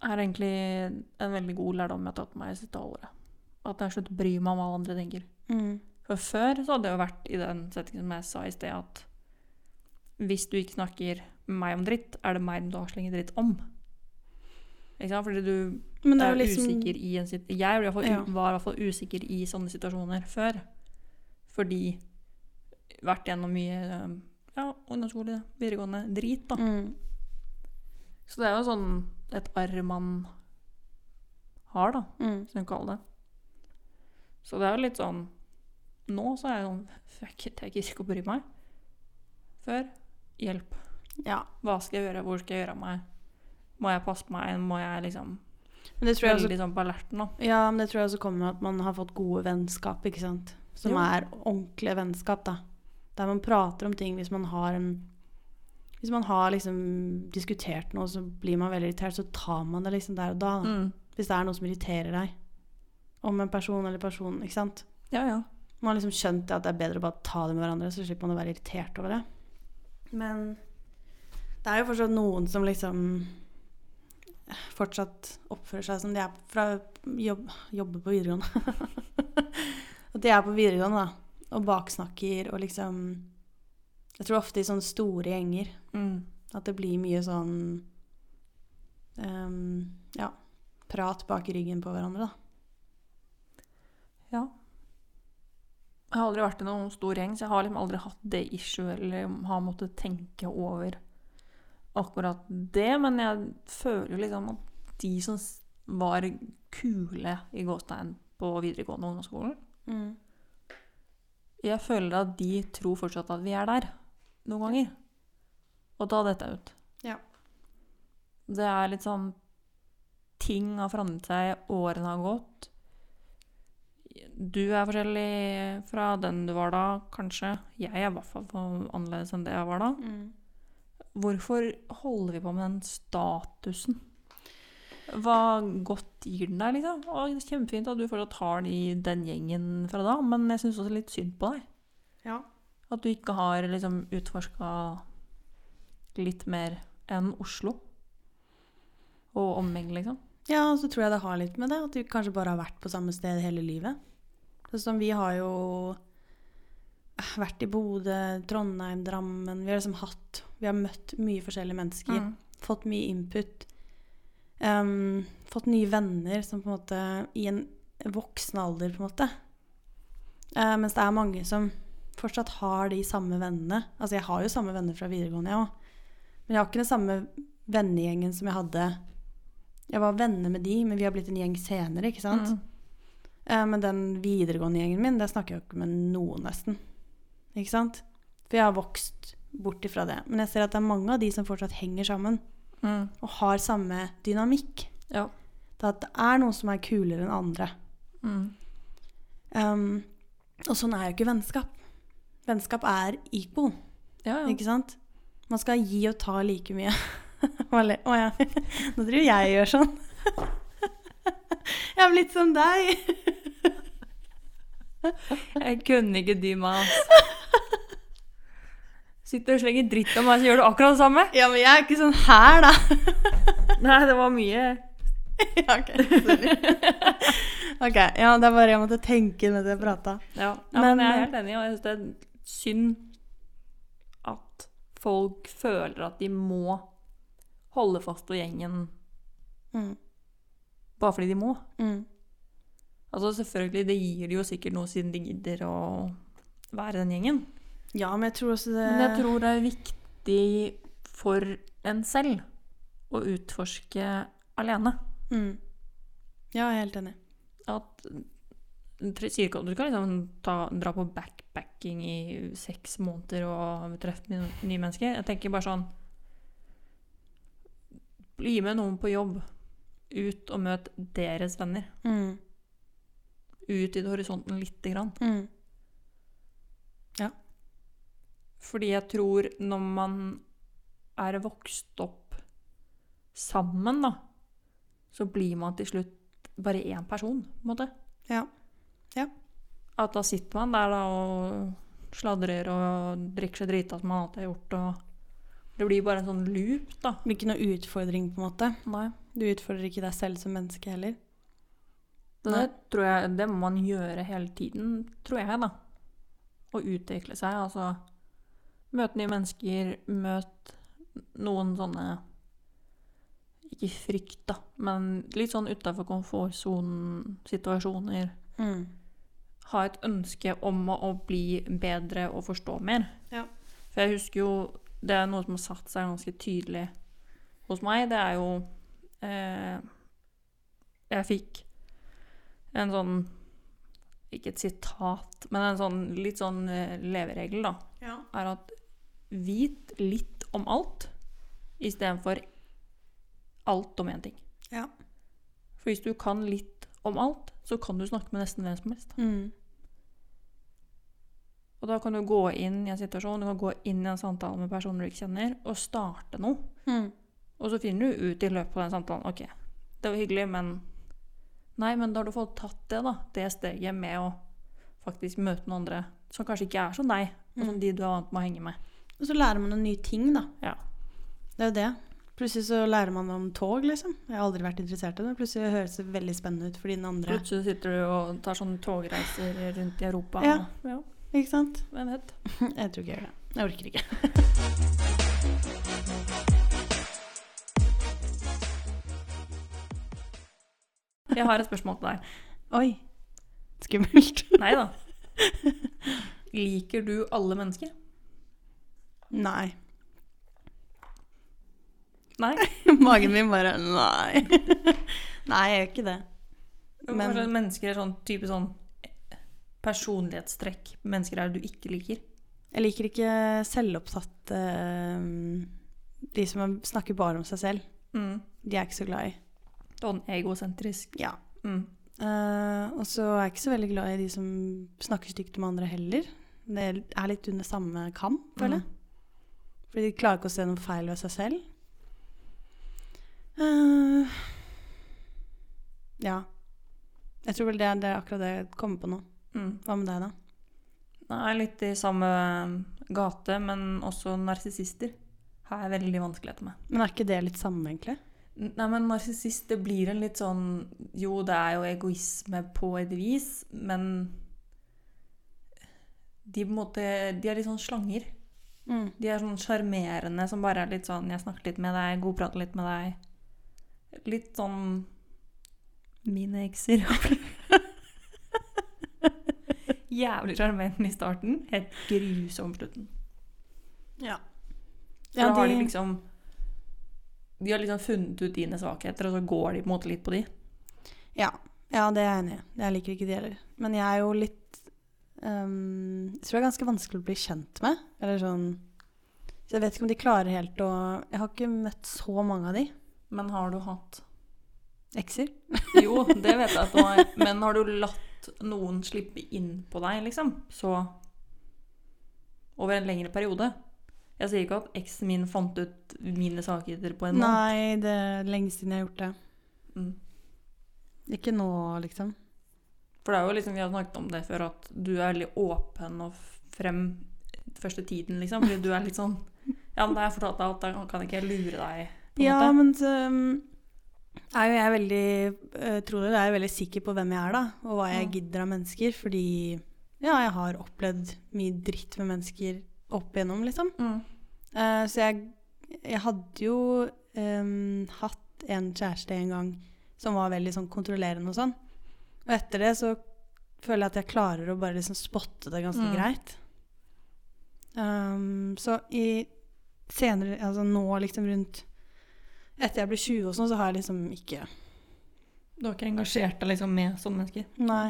Speaker 2: er egentlig en veldig god lærdom jeg har tatt med meg i siste halvåret. At jeg har sluttet å bry meg om hva alle andre tenker. For før så hadde jeg jo vært i den settingen som jeg sa i sted, at hvis du ikke snakker med meg om dritt, er det meg du har slengt dritt om. Ikke sant? Fordi du
Speaker 1: Men det
Speaker 2: er
Speaker 1: er jo liksom
Speaker 2: usikker i en sit- Jeg var i hvert fall,
Speaker 1: Ja.
Speaker 2: var i hvert fall usikker i sånne situasjoner før. Fordi vært gjennom mye um, ja, ungdomsskole, videregående, drit, da.
Speaker 1: Mm.
Speaker 2: Så det er jo sånn et arr man har, da,
Speaker 1: Mm.
Speaker 2: hvis man kan kalle det. Så det er jo litt sånn Nå så er jeg sånn Fuck it, jeg gidder ikke å bry meg. Før hjelp.
Speaker 1: Ja.
Speaker 2: Hva skal jeg gjøre? Hvor skal jeg gjøre av meg? Må jeg passe på meg? Må jeg liksom
Speaker 1: Men det tror jeg også
Speaker 2: Veldig sånn på alerten, da.
Speaker 1: Ja, men det tror jeg også kommer med at man har fått gode vennskap, ikke sant. Som
Speaker 2: Jo.
Speaker 1: er ordentlige vennskap, da. Der man prater om ting hvis man har en Hvis man har liksom diskutert noe, så blir man veldig irritert, så tar man det liksom der og da. da.
Speaker 2: Mm.
Speaker 1: Hvis det er noe som irriterer deg. Om en person eller person, ikke sant.
Speaker 2: Ja, ja.
Speaker 1: Man har liksom skjønt det at det er bedre å bare ta det med hverandre, så slipper man å være irritert over det. Men det er jo fortsatt noen som liksom eh, fortsatt oppfører seg som de er fra jobb, jobber på videregående. At de er på videregående, da. Og baksnakker og liksom Jeg tror ofte i sånne store gjenger
Speaker 2: Mm.
Speaker 1: at det blir mye sånn ehm, Ja, prat bak ryggen på hverandre, da.
Speaker 2: Ja. Jeg har aldri vært i noen stor gjeng, så jeg har liksom aldri hatt det issue eller har måttet tenke over akkurat det. Men jeg føler jo liksom at de som s- var kule i gåstegn på videregående og ungdomsskolen, jeg føler at de tror fortsatt at vi er der noen ganger. Og da detter jeg ut.
Speaker 1: Ja.
Speaker 2: Det er litt sånn Ting har forandret seg, årene har gått. Du er forskjellig fra den du var da, kanskje. Jeg er i hvert fall annerledes enn det jeg var da. Hvorfor holder vi på med den statusen? Hva godt gir den deg, liksom? Og det er kjempefint at du fortsatt har den i den gjengen fra da, men jeg syns også litt synd på deg.
Speaker 1: Ja.
Speaker 2: At du ikke har liksom utforska litt mer enn Oslo og omegn, liksom.
Speaker 1: Ja, og så tror jeg det har litt med det, at du kanskje bare har vært på samme sted hele livet. Sånn som vi har jo eh, vært i Bodø, Trondheim, Drammen. Vi har liksom hatt Vi har møtt mye forskjellige mennesker.
Speaker 2: Mm.
Speaker 1: Fått mye input. em, fått nye venner som på en måte I en voksen alder, på en måte. Eh, mens det er mange som fortsatt har de samme vennene. Altså, jeg har jo samme venner fra videregående, jeg òg. Men jeg har ikke den samme vennegjengen som jeg hadde Jeg var venner med de, men vi har blitt en gjeng senere, ikke sant?
Speaker 2: Mm.
Speaker 1: Eh, Men den videregående gjengen min, der snakker jeg jo ikke med noen nesten. Ikke sant? For jeg har vokst bort ifra det. Men jeg ser at det er mange av de som fortsatt henger sammen,
Speaker 2: Mm.
Speaker 1: og har samme dynamikk.
Speaker 2: Ja.
Speaker 1: Det at det er noen som er kulere enn andre.
Speaker 2: Mm.
Speaker 1: Um, og sånn er jo ikke vennskap. Vennskap er equal,
Speaker 2: Ja, ja.
Speaker 1: ikke sant? Man skal gi og ta like mye. Hva le- Å ja, nå driver jeg og gjør sånn. Jeg er blitt som deg.
Speaker 2: Jeg kunne ikke dy meg, altså. Sitter og slenger dritt om meg, så gjør du akkurat det samme.
Speaker 1: Ja, men jeg er ikke sånn her, da.
Speaker 2: Nei, det var mye
Speaker 1: Ja, ok. Sorry. ok, ja, det er bare jeg måtte tenke mens jeg prata.
Speaker 2: Ja, ja men,
Speaker 1: Men,
Speaker 2: jeg er
Speaker 1: eh,
Speaker 2: helt enig, og jeg synes det er synd at folk føler at de må holde fast ved gjengen
Speaker 1: Mm,
Speaker 2: bare fordi de må.
Speaker 1: mm,
Speaker 2: Altså selvfølgelig, det gir de jo sikkert noe siden de gidder å være den gjengen.
Speaker 1: Ja, men jeg tror også det
Speaker 2: Men jeg tror det er viktig for en selv å utforske alene.
Speaker 1: mm. Ja, jeg er helt enig.
Speaker 2: At du tre- sier ikke at du skal liksom ta, dra på backpacking i seks måneder og treffe nye, nye mennesker. Jeg tenker bare sånn Bli med noen på jobb. Ut og møt deres venner.
Speaker 1: Mm,
Speaker 2: Utvide horisonten lite grann.
Speaker 1: mm.
Speaker 2: Fordi jeg tror når man er vokst opp sammen, da, så blir man til slutt bare én person, på en måte.
Speaker 1: Ja. Ja.
Speaker 2: At da sitter man der da og sladrer og drikker seg drita som man alltid har gjort, og det blir bare en sånn loop, da.
Speaker 1: Det blir ikke noe utfordring, på en måte.
Speaker 2: Nei.
Speaker 1: Du utfordrer ikke deg selv som menneske heller.
Speaker 2: Det
Speaker 1: Nei.
Speaker 2: tror jeg det må man gjøre hele tiden, tror jeg, da. Å utvikle seg, altså. Møte nye mennesker, møt noen sånne Ikke frykt, da, men litt sånn utafor komfortsonen-situasjoner.
Speaker 1: Mm.
Speaker 2: Ha et ønske om å å bli bedre og forstå mer.
Speaker 1: Ja.
Speaker 2: For jeg husker jo Det er noe som har satt seg ganske tydelig hos meg. Det er jo eh, Jeg fikk en sånn Ikke et sitat, men en sånn litt sånn eh, leveregel, da.
Speaker 1: Ja.
Speaker 2: Er at vit litt om alt istedenfor alt om én ting.
Speaker 1: Ja.
Speaker 2: For hvis du kan litt om alt, så kan du snakke med nesten hvem som helst.
Speaker 1: Mm.
Speaker 2: Og da kan du gå inn i en situasjon, du kan gå inn i en samtale med personer du ikke kjenner, og starte noe.
Speaker 1: Mm.
Speaker 2: Og så finner du ut i løpet av den samtalen OK, det var hyggelig, men Nei, men da har du fått tatt det, da. Det steget med å faktisk møte noen andre som kanskje ikke er som deg, og
Speaker 1: Mm.
Speaker 2: som de du er vant med å henge med.
Speaker 1: Og så lærer man en ny ting, da.
Speaker 2: Ja.
Speaker 1: Det er jo det. Plutselig så lærer man om tog, liksom. Jeg har aldri vært interessert i det. Plutselig høres det veldig spennende ut for den andre.
Speaker 2: Plutselig sitter du og tar sånne togreiser rundt i Europa.
Speaker 1: Ja.
Speaker 2: ja
Speaker 1: Ikke sant?
Speaker 2: hvem vet.
Speaker 1: Jeg tror ikke jeg gjør det. Jeg orker ikke.
Speaker 2: Jeg har et spørsmål til deg.
Speaker 1: Oi. Skummelt.
Speaker 2: Nei da. Liker du alle mennesker?
Speaker 1: Nei.
Speaker 2: Nei.
Speaker 1: Magen min bare Nei. Nei, jeg gjør ikke det. Men-
Speaker 2: Men, mennesker er sånn type sånn personlighetstrekk mennesker er du ikke liker.
Speaker 1: Jeg liker ikke selvopptatte eh, De som er- snakker bare om seg selv.
Speaker 2: Mm.
Speaker 1: De er jeg ikke så glad i.
Speaker 2: Sånn egosentrisk.
Speaker 1: Ja.
Speaker 2: Mm.
Speaker 1: Eh, og så er jeg ikke så veldig glad i de som snakker stygt om andre heller. Det er litt under samme kam, føler jeg.
Speaker 2: Mm.
Speaker 1: Fordi de klarer ikke å se noe feil ved seg selv. Eh, ja. Jeg tror vel det, er- det er akkurat det jeg kommer på nå.
Speaker 2: Mm.
Speaker 1: Hva med deg, da?
Speaker 2: Det er litt i samme eh, gate, men også narsissister. Her er veldig vanskeligheter med.
Speaker 1: Men er ikke det litt samme, egentlig?
Speaker 2: Nei, men narsissist, det blir en litt sånn Jo, det er jo egoisme på et vis, men de, på en måte, de er litt sånn slanger. De er sånn sjarmerende som bare er litt sånn 'Jeg snakker litt med deg, godprater litt med deg'. Litt sånn Mine ekser. Jævlig sjarmerende i starten, helt grusom på slutten.
Speaker 1: Ja.
Speaker 2: For da har de
Speaker 1: de-
Speaker 2: liksom De har liksom funnet ut dine svakheter, og så går de på en måte litt på de.
Speaker 1: Ja, ja det er jeg enig i. Jeg liker ikke de heller. Men jeg er jo litt ehm, Jeg tror det er ganske vanskelig å bli kjent med. Eller sånn Så jeg vet ikke om de klarer helt å Jeg har ikke møtt så mange av de.
Speaker 2: Men har du hatt
Speaker 1: Ekser.
Speaker 2: Jo, det vet jeg at det var. Men har du latt noen slippe inn på deg, liksom? Så over en lengre periode. Jeg sier ikke at eksen min fant ut mine svakheter på en måned.
Speaker 1: Nei, det er lenge siden jeg har gjort det.
Speaker 2: Mm.
Speaker 1: Ikke nå, liksom.
Speaker 2: For det er jo liksom, vi har snakket om det før, at du er veldig åpen og frem første tiden, liksom. Fordi du er litt sånn Ja, men da har jeg fortalt deg alt, da kan jeg ikke lure deg. på en
Speaker 1: Ja,
Speaker 2: måte.
Speaker 1: men så ehm, er jo jeg veldig eh, Tror dere jeg er veldig sikker på hvem jeg er, da. Og hva jeg
Speaker 2: Mm.
Speaker 1: gidder av mennesker. Fordi ja, jeg har opplevd mye dritt med mennesker opp igjennom, liksom.
Speaker 2: Mm.
Speaker 1: Eh, så jeg, jeg hadde jo em, hatt en kjæreste en gang som var veldig sånn kontrollerende og sånn. Og etter det så føler jeg at jeg klarer å bare liksom spotte det ganske
Speaker 2: Mm.
Speaker 1: greit. Em, så i senere, altså nå liksom rundt Etter jeg ble 20 og sånn, så har jeg liksom ikke
Speaker 2: Du har ikke engasjert deg liksom med sånne mennesker?
Speaker 1: Nei.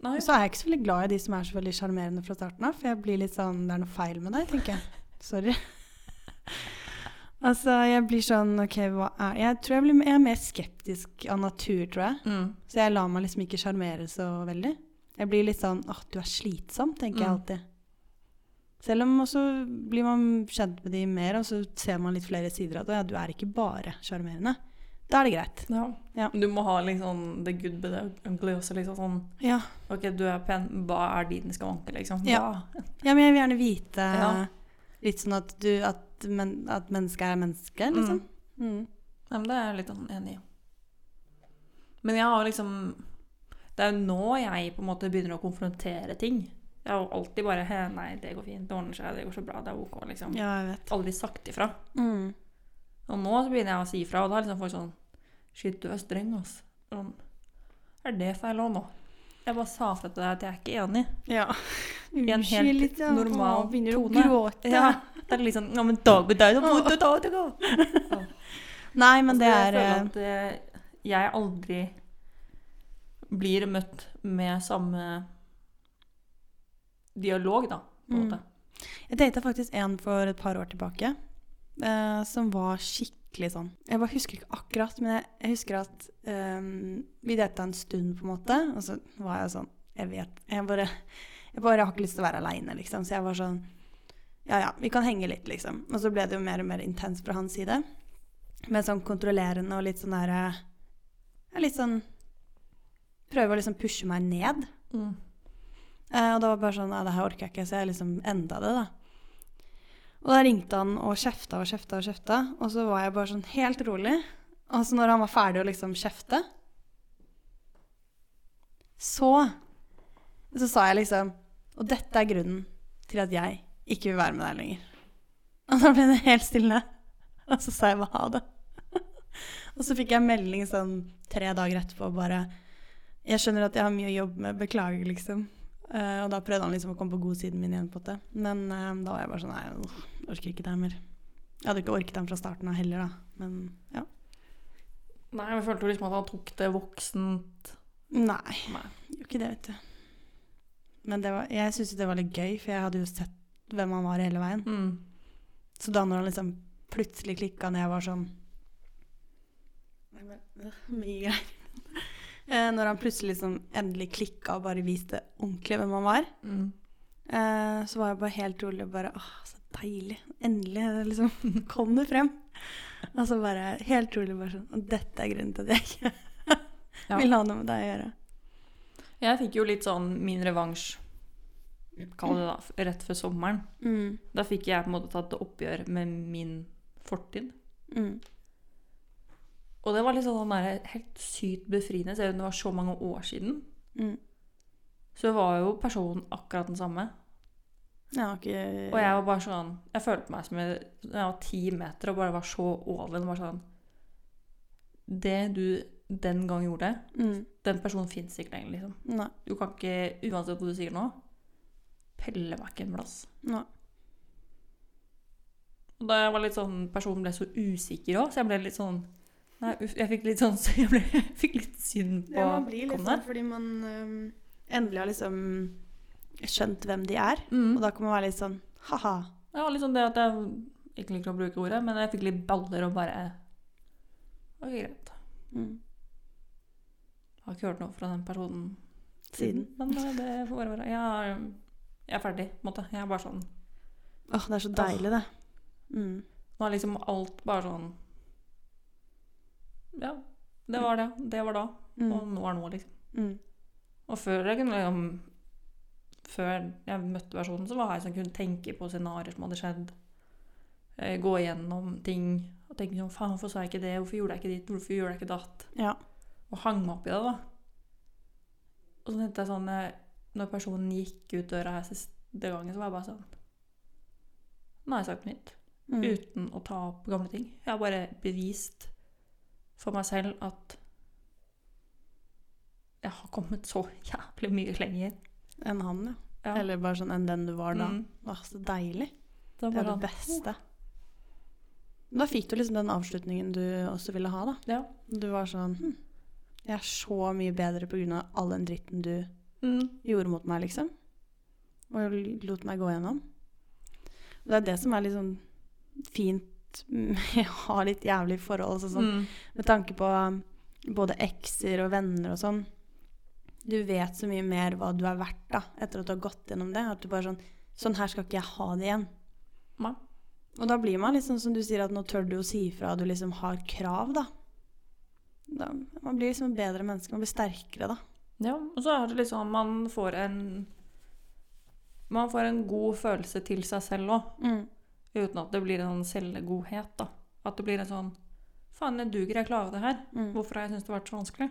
Speaker 2: Nei.
Speaker 1: Og så er jeg ikke så veldig glad i de som er så veldig sjarmerende fra starten av, for jeg blir litt sånn Det er noe feil med deg, tenker jeg. Sorry. altså, jeg blir sånn OK, hva er Jeg tror jeg, blir, jeg er mer skeptisk av natur, tror jeg.
Speaker 2: Mm.
Speaker 1: Så jeg lar meg liksom ikke sjarmere så veldig. Jeg blir litt sånn åh, du er slitsom, tenker jeg
Speaker 2: Mm.
Speaker 1: alltid. Selv om også blir man kjent med de mer, og så ser man litt flere sider av det. Ja, du er ikke bare sjarmerende. Da er det greit.
Speaker 2: Ja.
Speaker 1: Ja.
Speaker 2: Du må ha litt sånn the good but the ugly også. liksom sånn,
Speaker 1: Ja,
Speaker 2: Ok, du er pen, hva er dine skavanker, liksom?
Speaker 1: Ja.
Speaker 2: Hva-
Speaker 1: ja men jeg vil gjerne vite
Speaker 2: Ja.
Speaker 1: litt sånn at, du, at, men, at mennesket er menneske, liksom. Mm.
Speaker 2: Nei, sånn. men det er jeg litt sånn enig i. Men jeg har liksom Det er jo nå jeg på en måte begynner å konfrontere ting. Jeg har jo alltid bare «Hæ, 'Nei, det går fint. Det ordner seg. Det går så bra. Det er ok.' liksom.
Speaker 1: Ja, jeg vet.
Speaker 2: Aldri sagt ifra.
Speaker 1: Mm.
Speaker 2: Og nå så begynner jeg å si ifra, og da er liksom folk sånn 'Shit, du er streng, ass'. Sånn, er det feil òg, nå? Jeg bare sa fra til deg at jeg er ikke enig.
Speaker 1: Ja.
Speaker 2: I en helt
Speaker 1: Unnskyld litt, ja.
Speaker 2: normal
Speaker 1: Å, begynner du å
Speaker 2: tone.
Speaker 1: gråte.
Speaker 2: Ja. Det er litt sånn 'Ja, men dag med deg, så må du ta det, da'.
Speaker 1: Nei, men det
Speaker 2: Altså,
Speaker 1: er
Speaker 2: Jeg
Speaker 1: eh,
Speaker 2: føler at eh, jeg aldri blir møtt med samme dialog, da, på en
Speaker 1: Mm.
Speaker 2: måte.
Speaker 1: Jeg data faktisk en for et par år tilbake eh, som var skikkelig sånn Jeg bare husker ikke akkurat, men jeg, jeg husker at eh, vi data en stund, på en måte, og så var jeg sånn Jeg vet Jeg bare, jeg bare har ikke lyst til å være aleine, liksom. Så jeg var sånn Ja ja, vi kan henge litt, liksom. Og så ble det jo mer og mer intenst fra hans side. Med sånn kontrollerende og litt sånn derre ja, Litt sånn Prøve å liksom pushe meg ned. mm. Eh, og da var det bare sånn Nei, det her orker jeg ikke, så jeg liksom enda det, da. Og da ringte han og kjefta og kjefta og kjefta, og så var jeg bare sånn helt rolig. Og så når han var ferdig å liksom kjefte, så Så sa jeg liksom Og dette er grunnen til at jeg ikke vil være med deg lenger. Og da ble det helt stille. Og så sa jeg bare ha det. og så fikk jeg melding sånn tre dager etterpå bare Jeg skjønner at jeg har mye å jobbe med, beklager, liksom. Eh, og da prøvde han liksom å komme på godsiden min igjen, på det. Men eh, da var jeg bare sånn Nei, øh, jeg orker ikke det her mer. Jeg hadde ikke orket ham fra starten av heller, da. Men ja.
Speaker 2: Nei, jeg følte jo liksom at han tok det voksent.
Speaker 1: Nei.
Speaker 2: Nei.
Speaker 1: Gjorde ikke det, vet du. Men det var, jeg syntes jo det var litt gøy, for jeg hadde jo sett hvem han var hele veien.
Speaker 2: Mm.
Speaker 1: Så da når han liksom plutselig klikka når jeg var sånn Nei, men, øh, Mye greier. Eh, når han plutselig liksom endelig klikka og bare viste ordentlig hvem han var,
Speaker 2: Mm.
Speaker 1: Eh, så var jeg bare helt rolig og bare Åh, så deilig. Endelig er det liksom, kom det frem. Og så bare helt rolig bare sånn Og dette er grunnen til at jeg ikke
Speaker 2: Ja.
Speaker 1: vil ha noe med deg å gjøre.
Speaker 2: Jeg fikk jo litt sånn min revansj, kall det da, f- rett før sommeren.
Speaker 1: Mm.
Speaker 2: Da fikk jeg på en måte tatt et oppgjør med min fortid.
Speaker 1: Mm.
Speaker 2: Og det var liksom sånn der, helt sykt befriende, selv om det var så mange år siden.
Speaker 1: Mm.
Speaker 2: Så var jo personen akkurat den samme.
Speaker 1: Jeg har ikke
Speaker 2: Og jeg var bare sånn Jeg følte meg som jeg, når jeg var ti meter og bare var så over den. Bare sånn Det du den gang gjorde,
Speaker 1: mm.
Speaker 2: den personen fins ikke lenger, liksom.
Speaker 1: Nei.
Speaker 2: Du kan ikke, uansett hva du sier nå, pelle meg ikke en plass.
Speaker 1: Nei.
Speaker 2: Og da jeg var litt sånn Personen ble så usikker òg, så jeg ble litt sånn Nei, uff, jeg fikk litt sånn så jeg, ble, jeg fikk litt synd på kommende.
Speaker 1: sånn fordi man endelig har liksom skjønt hvem de er.
Speaker 2: Mm.
Speaker 1: Og da kan man være litt sånn ha-ha.
Speaker 2: Det var liksom det at jeg ikke liker å bruke ordet, men jeg fikk litt baller og bare Ok, greit.
Speaker 1: Mm.
Speaker 2: Har ikke hørt noe fra den personen
Speaker 1: Siden.
Speaker 2: Men eh, det får bare være. Jeg er, jeg er ferdig, på en måte. Jeg er bare sånn
Speaker 1: Mm. Åh, det er så deilig, det. Mm.
Speaker 2: Nå er liksom alt bare sånn Ja, det var det. Det var da.
Speaker 1: Mm.
Speaker 2: Og nå er nå, liksom.
Speaker 1: Mm.
Speaker 2: Og før jeg kunne liksom Før jeg møtte personen, så var jeg som kunne tenke på scenarioer som hadde skjedd. Eh, Gå igjennom ting og tenke sånn Faen, hvorfor sa jeg ikke det? Hvorfor gjorde jeg ikke ditt? Hvorfor gjorde jeg ikke datt?
Speaker 1: Ja.
Speaker 2: Og hang meg opp i det, da. Og så tenkte jeg sånn eh, Når personen gikk ut døra her siste gangen, så var jeg bare sånn Nå har jeg sagt mitt.
Speaker 1: Mm.
Speaker 2: Uten å ta opp gamle ting. Jeg har bare bevist for meg selv at jeg har kommet så jævlig mye lenger.
Speaker 1: Enn han, ja.
Speaker 2: Ja.
Speaker 1: Eller bare sånn enn den du var da.
Speaker 2: Mm.
Speaker 1: Åh, så deilig.
Speaker 2: Det
Speaker 1: Det
Speaker 2: var
Speaker 1: er det
Speaker 2: bare sånn,
Speaker 1: beste. Da fikk du liksom den avslutningen du også ville ha, da.
Speaker 2: Ja.
Speaker 1: Du var sånn hm, Jeg er så mye bedre pga. all den dritten du
Speaker 2: Mm.
Speaker 1: gjorde mot meg, liksom. Og lot meg gå gjennom. Og det er det som er liksom fint med å ha litt jævlig forhold. Altså, sånn.
Speaker 2: Mm.
Speaker 1: Med tanke på um, både ekser og venner og sånn. Du vet så mye mer hva du er verdt da, etter at du har gått gjennom det. At du bare sånn Sånn her skal ikke jeg ha det igjen.
Speaker 2: Nei.
Speaker 1: Og da blir man litt sånn som du sier, at nå tør du å si ifra, og du liksom har krav, da. da. Man blir liksom et bedre menneske, man blir sterkere, da.
Speaker 2: Ja, og så er det liksom Man får en Man får en god følelse til seg selv òg, uten at det blir en sånn selvgodhet, da. At det blir en sånn Faen, jeg duger, jeg klarer det her.
Speaker 1: Mm.
Speaker 2: Hvorfor har jeg syntes det har vært så vanskelig?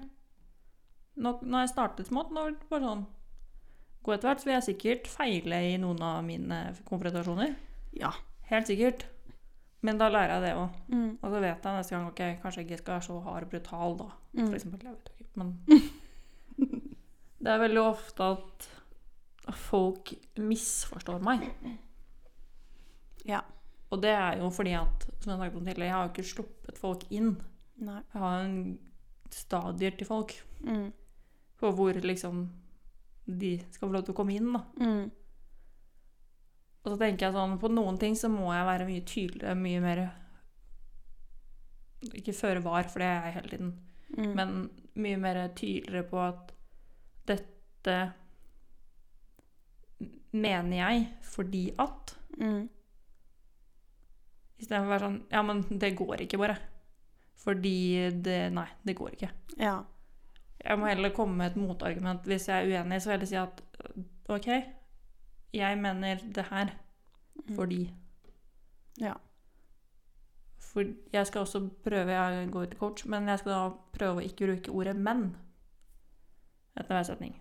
Speaker 2: Nå, når jeg startet smått, nå var det bare sånn Gå etter hvert så vil jeg sikkert feile i noen av mine konfrontasjoner.
Speaker 1: Ja.
Speaker 2: Helt sikkert. Men da lærer jeg det òg.
Speaker 1: Mm.
Speaker 2: Og så vet jeg neste gang ok, kanskje jeg ikke skal være så hard og brutal, da. For
Speaker 1: Mm.
Speaker 2: eksempel, jeg vet jo ikke, men Det er veldig ofte at folk misforstår meg.
Speaker 1: Ja.
Speaker 2: Og det er jo fordi at, som jeg snakket om tidligere, jeg har jo ikke sluppet folk inn.
Speaker 1: Nei.
Speaker 2: Jeg har en stadier til folk
Speaker 1: Mm.
Speaker 2: på hvor liksom de skal få lov til å komme inn, da.
Speaker 1: Mm.
Speaker 2: Og så tenker jeg sånn, på noen ting så må jeg være mye tydeligere, mye mer Ikke føre var, for det er jeg hele tiden.
Speaker 1: Mm.
Speaker 2: men mye mer tydeligere på at dette mener jeg fordi at
Speaker 1: mm.
Speaker 2: Istedenfor å være sånn Ja, men det går ikke, bare. Fordi det Nei, det går ikke.
Speaker 1: Ja.
Speaker 2: Jeg må heller komme med et motargument. Hvis jeg er uenig, så vil jeg heller si at OK, jeg mener det her
Speaker 1: Mm.
Speaker 2: fordi
Speaker 1: Ja.
Speaker 2: For jeg skal også prøve Jeg går til coach, men jeg skal da prøve å ikke bruke ordet 'men' etter hver setning.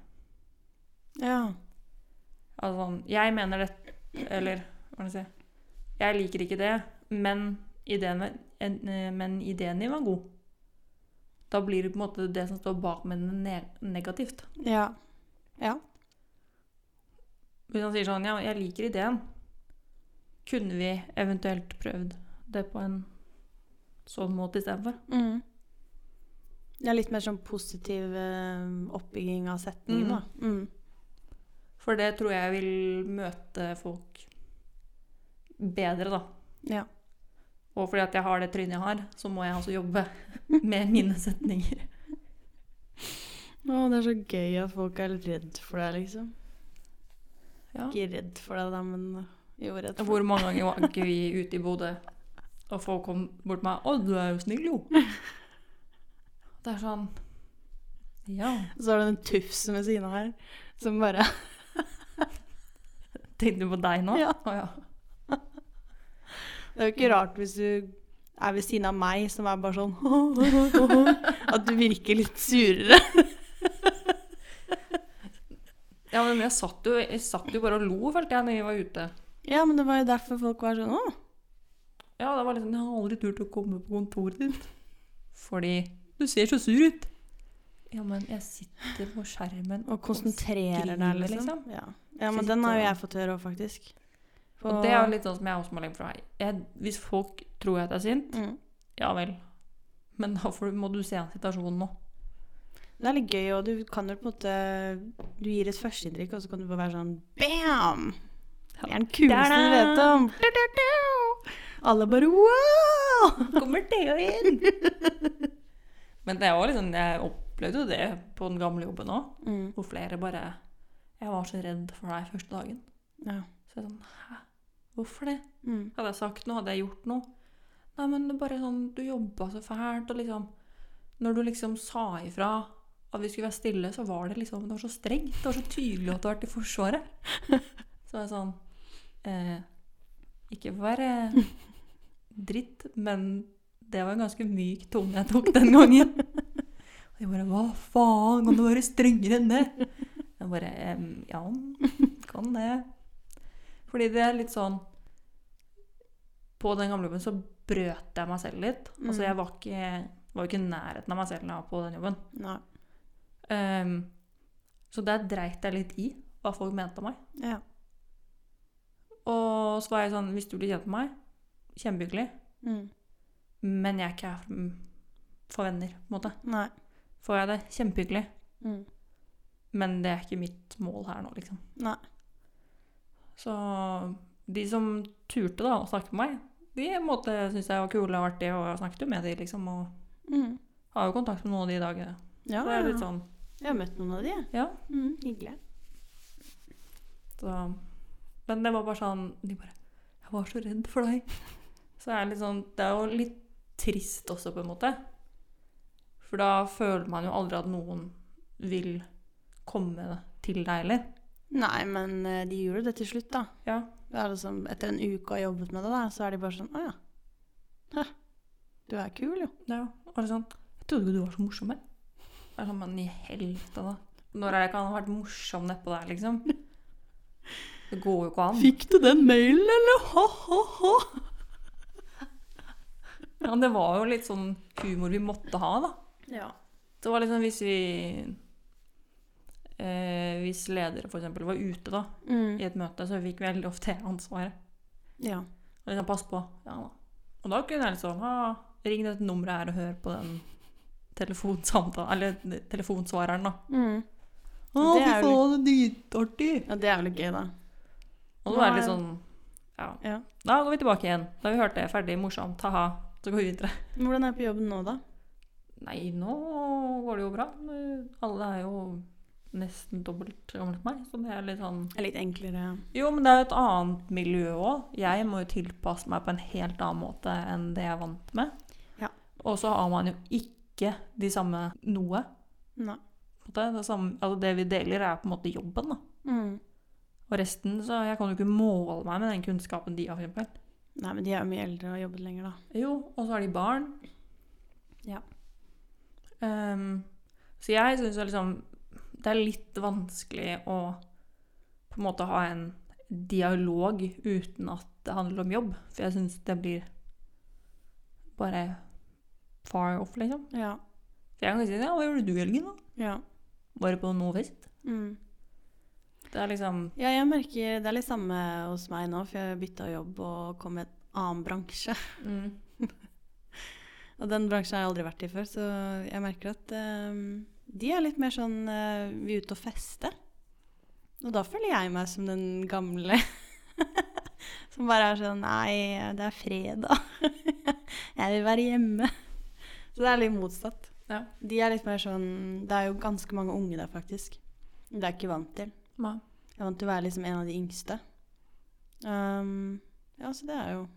Speaker 1: Ja.
Speaker 2: Altså sånn Jeg mener det Eller hva skal jeg si Jeg liker ikke det, men ideen, en- eh, men ideen din var god. Da blir det på en måte det som står bak med den ne negativt.
Speaker 1: Ja. Ja.
Speaker 2: Hvis han sier sånn Ja, jeg liker ideen. Kunne vi eventuelt prøvd det på en sånn måte istedenfor?
Speaker 1: Mm. Ja, litt mer sånn positiv eh, oppbygging av setningen, da. Mm.
Speaker 2: For det tror jeg vil møte folk bedre, da.
Speaker 1: Ja.
Speaker 2: Og fordi at jeg har det trynet jeg har, så må jeg også jobbe med mine setninger.
Speaker 1: Å, det er så gøy at folk er redd for deg, liksom.
Speaker 2: Ja.
Speaker 1: Ikke redd for deg, da, men jo redd for
Speaker 2: Hvor mange ganger var ikke vi ute i Bodø, og folk kom bort til meg 'Å, du er jo snill, jo'. Det er sånn Ja.
Speaker 1: Så er det den tufsen ved siden av her som bare
Speaker 2: Tenkte du på deg nå?
Speaker 1: Ja.
Speaker 2: Å, ja.
Speaker 1: Det er jo ikke rart hvis du er ved siden av meg som er bare sånn At du virker litt surere.
Speaker 2: ja men jeg satt, jo, jeg satt jo bare og lo, følte jeg, når vi var ute.
Speaker 1: Ja, men det var jo derfor folk var sånn Å,
Speaker 2: Ja, det var liksom Jeg har aldri turt å komme på kontoret ditt. Fordi Du ser så sur ut. Ja, men jeg sitter på skjermen
Speaker 1: og konsentrerer deg,
Speaker 2: skriver,
Speaker 1: liksom.
Speaker 2: liksom.
Speaker 1: Ja. ja, men den har jo jeg fått høre òg, faktisk.
Speaker 2: Og det er jo litt sånn som jeg også må legge fra meg. Jeg- Hvis folk tror jeg at jeg er sint,
Speaker 1: mm.
Speaker 2: ja vel. Men da får, du- må du se an situasjonen nå.
Speaker 1: Det er litt gøy, og du kan jo på en måte Du gir et førsteinntrykk, og så kan du bare være sånn Bam! Det er den kuleste du
Speaker 2: Da-da!
Speaker 1: vet om. Du-du-du! Alle bare wow!
Speaker 2: Kommer Theo inn? Men det var liksom, jeg opplevde jo det på den gamle jobben òg.
Speaker 1: Mm.
Speaker 2: Hvor flere bare Jeg var så redd for deg første dagen.
Speaker 1: Ja.
Speaker 2: Så jeg sånn Hæ? Hvorfor det?
Speaker 1: Mm.
Speaker 2: Hadde jeg sagt noe, hadde jeg gjort noe? Nei, men det er bare sånn Du jobba så fælt, og liksom Når du liksom sa ifra at vi skulle være stille, så var det liksom Det var så strengt. Det var så tydelig at du har vært i Forsvaret. Så var jeg sånn eh, Ikke for å være dritt, men det var en ganske myk tone jeg tok den gangen. Og de bare Hva faen? Kan du være strengere enn det? Jeg bare «Em, Ja, kan det. Fordi det er litt sånn På den gamle jobben så brøt jeg meg selv litt. Altså
Speaker 1: Mm.
Speaker 2: jeg var ikke, var ikke i nærheten av meg selv da jeg var på den jobben.
Speaker 1: Nei.
Speaker 2: Ehm, så der dreit jeg litt i hva folk mente om meg.
Speaker 1: Ja.
Speaker 2: Og så var jeg sånn Hvis du blir kjent med meg, kjempehyggelig,
Speaker 1: Mm.
Speaker 2: men jeg er ikke her for, for venner, på en måte.
Speaker 1: Nei.
Speaker 2: Får jeg det, kjempehyggelig,
Speaker 1: Mm.
Speaker 2: men det er ikke mitt mål her nå, liksom.
Speaker 1: Nei.
Speaker 2: Så de som turte da å snakke med meg, de på en måte syntes jeg var kule og artige, og jeg snakket jo med de, liksom, og
Speaker 1: Mm.
Speaker 2: har jo kontakt med noen av de i dag.
Speaker 1: Ja,
Speaker 2: Så det er litt sånn
Speaker 1: Mm, jeg har møtt noen av de. jeg.
Speaker 2: Ja.
Speaker 1: Mm, hyggelig.
Speaker 2: Så Men det var bare sånn De bare 'Jeg var så redd for deg'. Så er det litt sånn Det er jo litt trist også, på en måte. For da føler man jo aldri at noen vil komme til deg heller.
Speaker 1: Nei, men eh, de gjorde det til slutt, da.
Speaker 2: Ja.
Speaker 1: Det er liksom, etter en uke å ha jobbet med det, der, så er de bare sånn Å ja. Hæ. Du er kul, jo.
Speaker 2: Det er jo og det er sånn Jeg trodde ikke du var så morsom, jeg. Det er sånn, men i helvete, da. Når er det ikke han har vært morsom nedpå der, liksom? Det går jo ikke an.
Speaker 1: Fikk du den mailen, eller? Ha-ha-ha.
Speaker 2: Ja, det var jo litt sånn humor vi måtte ha, da.
Speaker 1: Ja.
Speaker 2: Det var liksom hvis vi eh, Hvis ledere f.eks. var ute da,
Speaker 1: Mm.
Speaker 2: i et møte, så fikk vi veldig ofte ansvaret.
Speaker 1: ja.
Speaker 2: Og liksom passe på. Ja, da. Og da kunne jeg liksom ah, Ring dette nummeret her og hør på den telefonsamtalen Eller telefonsvareren, da.
Speaker 1: Mm.
Speaker 2: Å,
Speaker 1: Det er
Speaker 2: fy
Speaker 1: jo
Speaker 2: faen, det er dritartig!
Speaker 1: ja. Det er vel gøy, da.
Speaker 2: Og da er det
Speaker 1: Nei.
Speaker 2: litt sånn ja.
Speaker 1: Ja.
Speaker 2: Da går vi tilbake igjen. Da har vi hørt det. Ferdig, morsomt, ha-ha. Så går vi videre.
Speaker 1: Hvordan er det på jobben nå, da?
Speaker 2: Nei, nå går det jo bra. Alle er jo nesten dobbelt gamle som meg, så det er litt sånn
Speaker 1: Er litt enklere.
Speaker 2: Jo, men det er jo et annet miljø òg. Jeg må jo tilpasse meg på en helt annen måte enn det jeg er vant med.
Speaker 1: Ja.
Speaker 2: Og så har man jo ikke de samme noe.
Speaker 1: Nei.
Speaker 2: på en måte. Det, samme, altså det vi deler, er på en måte jobben. da.
Speaker 1: Mm.
Speaker 2: Og resten så Jeg kan jo ikke måle meg med den kunnskapen de har, for eksempel.
Speaker 1: Nei, men de er jo mye eldre og har jobbet lenger, da.
Speaker 2: Jo, og så har de barn.
Speaker 1: Ja.
Speaker 2: Ehm, så jeg syns liksom det er litt vanskelig å på en måte ha en dialog uten at det handler om jobb. For jeg syns det blir bare far off, liksom.
Speaker 1: Ja.
Speaker 2: For jeg kan si sånn, ja, 'Hva gjorde du i helgen, da?'
Speaker 1: Ja.
Speaker 2: Bare på noe fest.
Speaker 1: Mm.
Speaker 2: Det er liksom
Speaker 1: Ja, jeg merker det er litt samme hos meg nå, for jeg bytta jobb og kom i en annen bransje.
Speaker 2: mm,
Speaker 1: Og den bransjen har jeg aldri vært i før, så jeg merker at eh, de er litt mer sånn eh, Vi er ute og fester. Og da føler jeg meg som den gamle som bare er sånn Nei, det er fredag. jeg vil være hjemme. Så det er litt motsatt.
Speaker 2: Ja.
Speaker 1: De er litt mer sånn Det er jo ganske mange unge der, faktisk. Det er jeg ikke vant til.
Speaker 2: ma-
Speaker 1: Jeg vant til å være liksom en av de yngste. Ehm, ja, så det er jo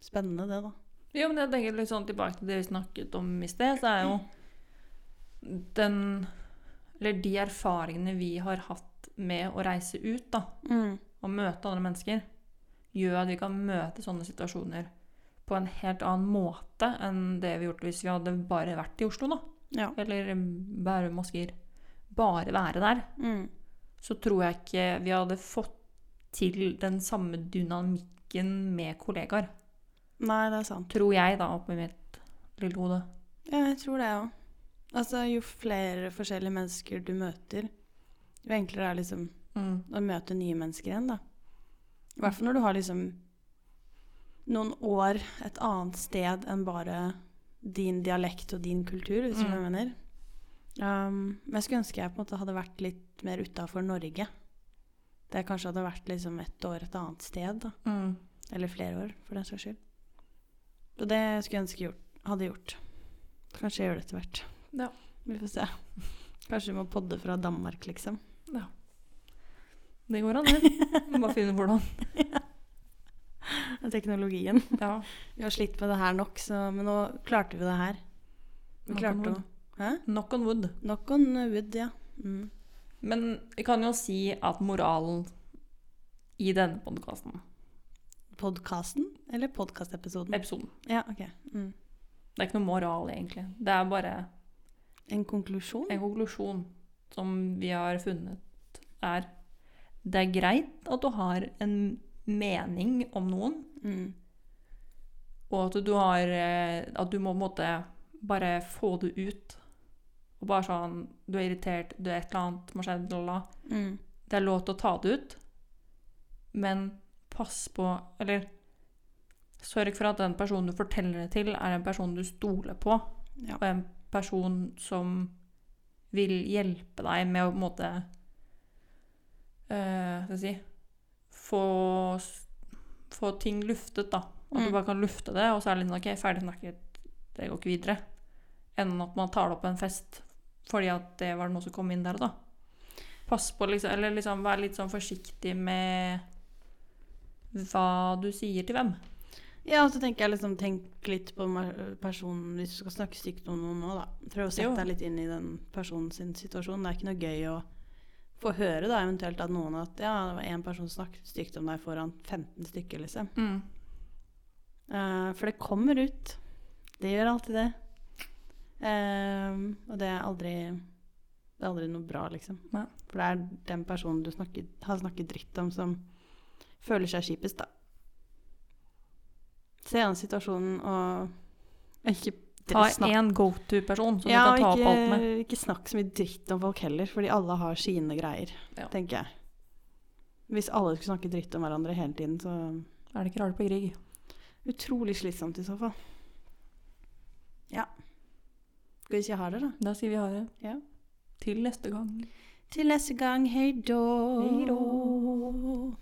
Speaker 1: spennende, det, da.
Speaker 2: Jo, men jeg tenker litt sånn tilbake til det vi snakket om i sted, så er jo den Eller de erfaringene vi har hatt med å reise ut, da, og møte andre mennesker, gjør at vi kan møte sånne situasjoner på en helt annen måte enn det vi gjorde hvis vi hadde bare vært i Oslo, da.
Speaker 1: Ja.
Speaker 2: Eller Bærum og Skier. Bare være der.
Speaker 1: Mm.
Speaker 2: Så tror jeg ikke vi hadde fått til den samme dynamikken med kollegaer.
Speaker 1: Nei, det er sant.
Speaker 2: Tror jeg, da, oppi mitt lille hode.
Speaker 1: Ja, jeg tror det, jeg òg. Altså, jo flere forskjellige mennesker du møter, jo enklere er det liksom
Speaker 2: Mm.
Speaker 1: å møte nye mennesker igjen, da. I hvert fall når du har liksom noen år et annet sted enn bare din dialekt og din kultur, hvis du skjønner hva jeg mener. Um, men jeg skulle ønske jeg på en måte hadde vært litt mer utafor Norge. Det kanskje hadde vært liksom ett år et annet sted, da.
Speaker 2: Mm.
Speaker 1: Eller flere år, for den saks skyld. Så det skulle jeg ønske jeg gjort, hadde gjort. Kanskje jeg gjør det etter hvert.
Speaker 2: Ja.
Speaker 1: Vi får se. Kanskje vi må podde fra Danmark, liksom.
Speaker 2: Det går an, det. Må Bare finne hvordan.
Speaker 1: Teknologien.
Speaker 2: Ja.
Speaker 1: Vi har slitt med det her nok, så, men nå klarte vi det her. Vi
Speaker 2: Knock on
Speaker 1: klarte
Speaker 2: wood.
Speaker 1: å Hæ?
Speaker 2: Knock on wood.
Speaker 1: Knock on wood, ja. Mm.
Speaker 2: Men vi kan jo si at moralen i denne podkasten,
Speaker 1: Podkasten? Eller podkastepisoden?
Speaker 2: episoden
Speaker 1: Ja, OK. Mm.
Speaker 2: Det er ikke noe moral, egentlig. Det er bare
Speaker 1: En konklusjon?
Speaker 2: en konklusjon som vi har funnet er Det er greit at du har en mening om noen,
Speaker 1: Mm.
Speaker 2: og at du har eh, At du må på en måte bare få det ut. Og bare sånn Du er irritert, du er et eller annet som har skjedd, la, la, la.
Speaker 1: Mm.
Speaker 2: det er lov til å ta det ut, men pass på Eller sørg for at den personen du forteller det til, er en person du stoler på,
Speaker 1: Ja.
Speaker 2: og en person som vil hjelpe deg med å på en måte eh, Hva skal jeg si Få, få ting luftet, da. At du
Speaker 1: Mm.
Speaker 2: bare kan lufte det, og så er det litt sånn OK, ferdig snakket, det går ikke videre. Enn at man tar det opp på en fest fordi at det var noe som kom inn der og da. Pass på, liksom, eller liksom være litt sånn forsiktig med hva du sier til hvem.
Speaker 1: Ja, og så tenker jeg liksom Tenk litt på ma- personen hvis du skal snakke stygt om noen nå, da. Prøv å sette
Speaker 2: Jo.
Speaker 1: deg litt inn i den personen sin situasjon. Det er ikke noe gøy å få høre da eventuelt at noen at ja, det var én person som snakket stygt om deg foran 15 stykker, liksom. Eh, for det kommer ut. Det gjør alltid det. Eh, og det er aldri Det er aldri noe bra, liksom.
Speaker 2: Nei.
Speaker 1: For det er den personen du snakker, har snakket dritt om, som føler seg kjipest, da. Se an situasjonen og ikke
Speaker 2: Ta
Speaker 1: snakk-
Speaker 2: én go-to-person som
Speaker 1: ja,
Speaker 2: du kan ta
Speaker 1: og
Speaker 2: opp alt med.
Speaker 1: ikke, ikke snakk så mye dritt om folk heller, fordi alle har sine greier,
Speaker 2: Ja.
Speaker 1: tenker jeg. Hvis alle skulle snakke dritt om hverandre hele tiden, så
Speaker 2: Er det ikke rart det blir krig?
Speaker 1: Utrolig slitsomt i så fall. Ja. Skal vi si ha det, da?
Speaker 2: Da sier vi ha det.
Speaker 1: Ja.
Speaker 2: Til neste gang.
Speaker 1: Til neste gang, hei då.
Speaker 2: Hei då.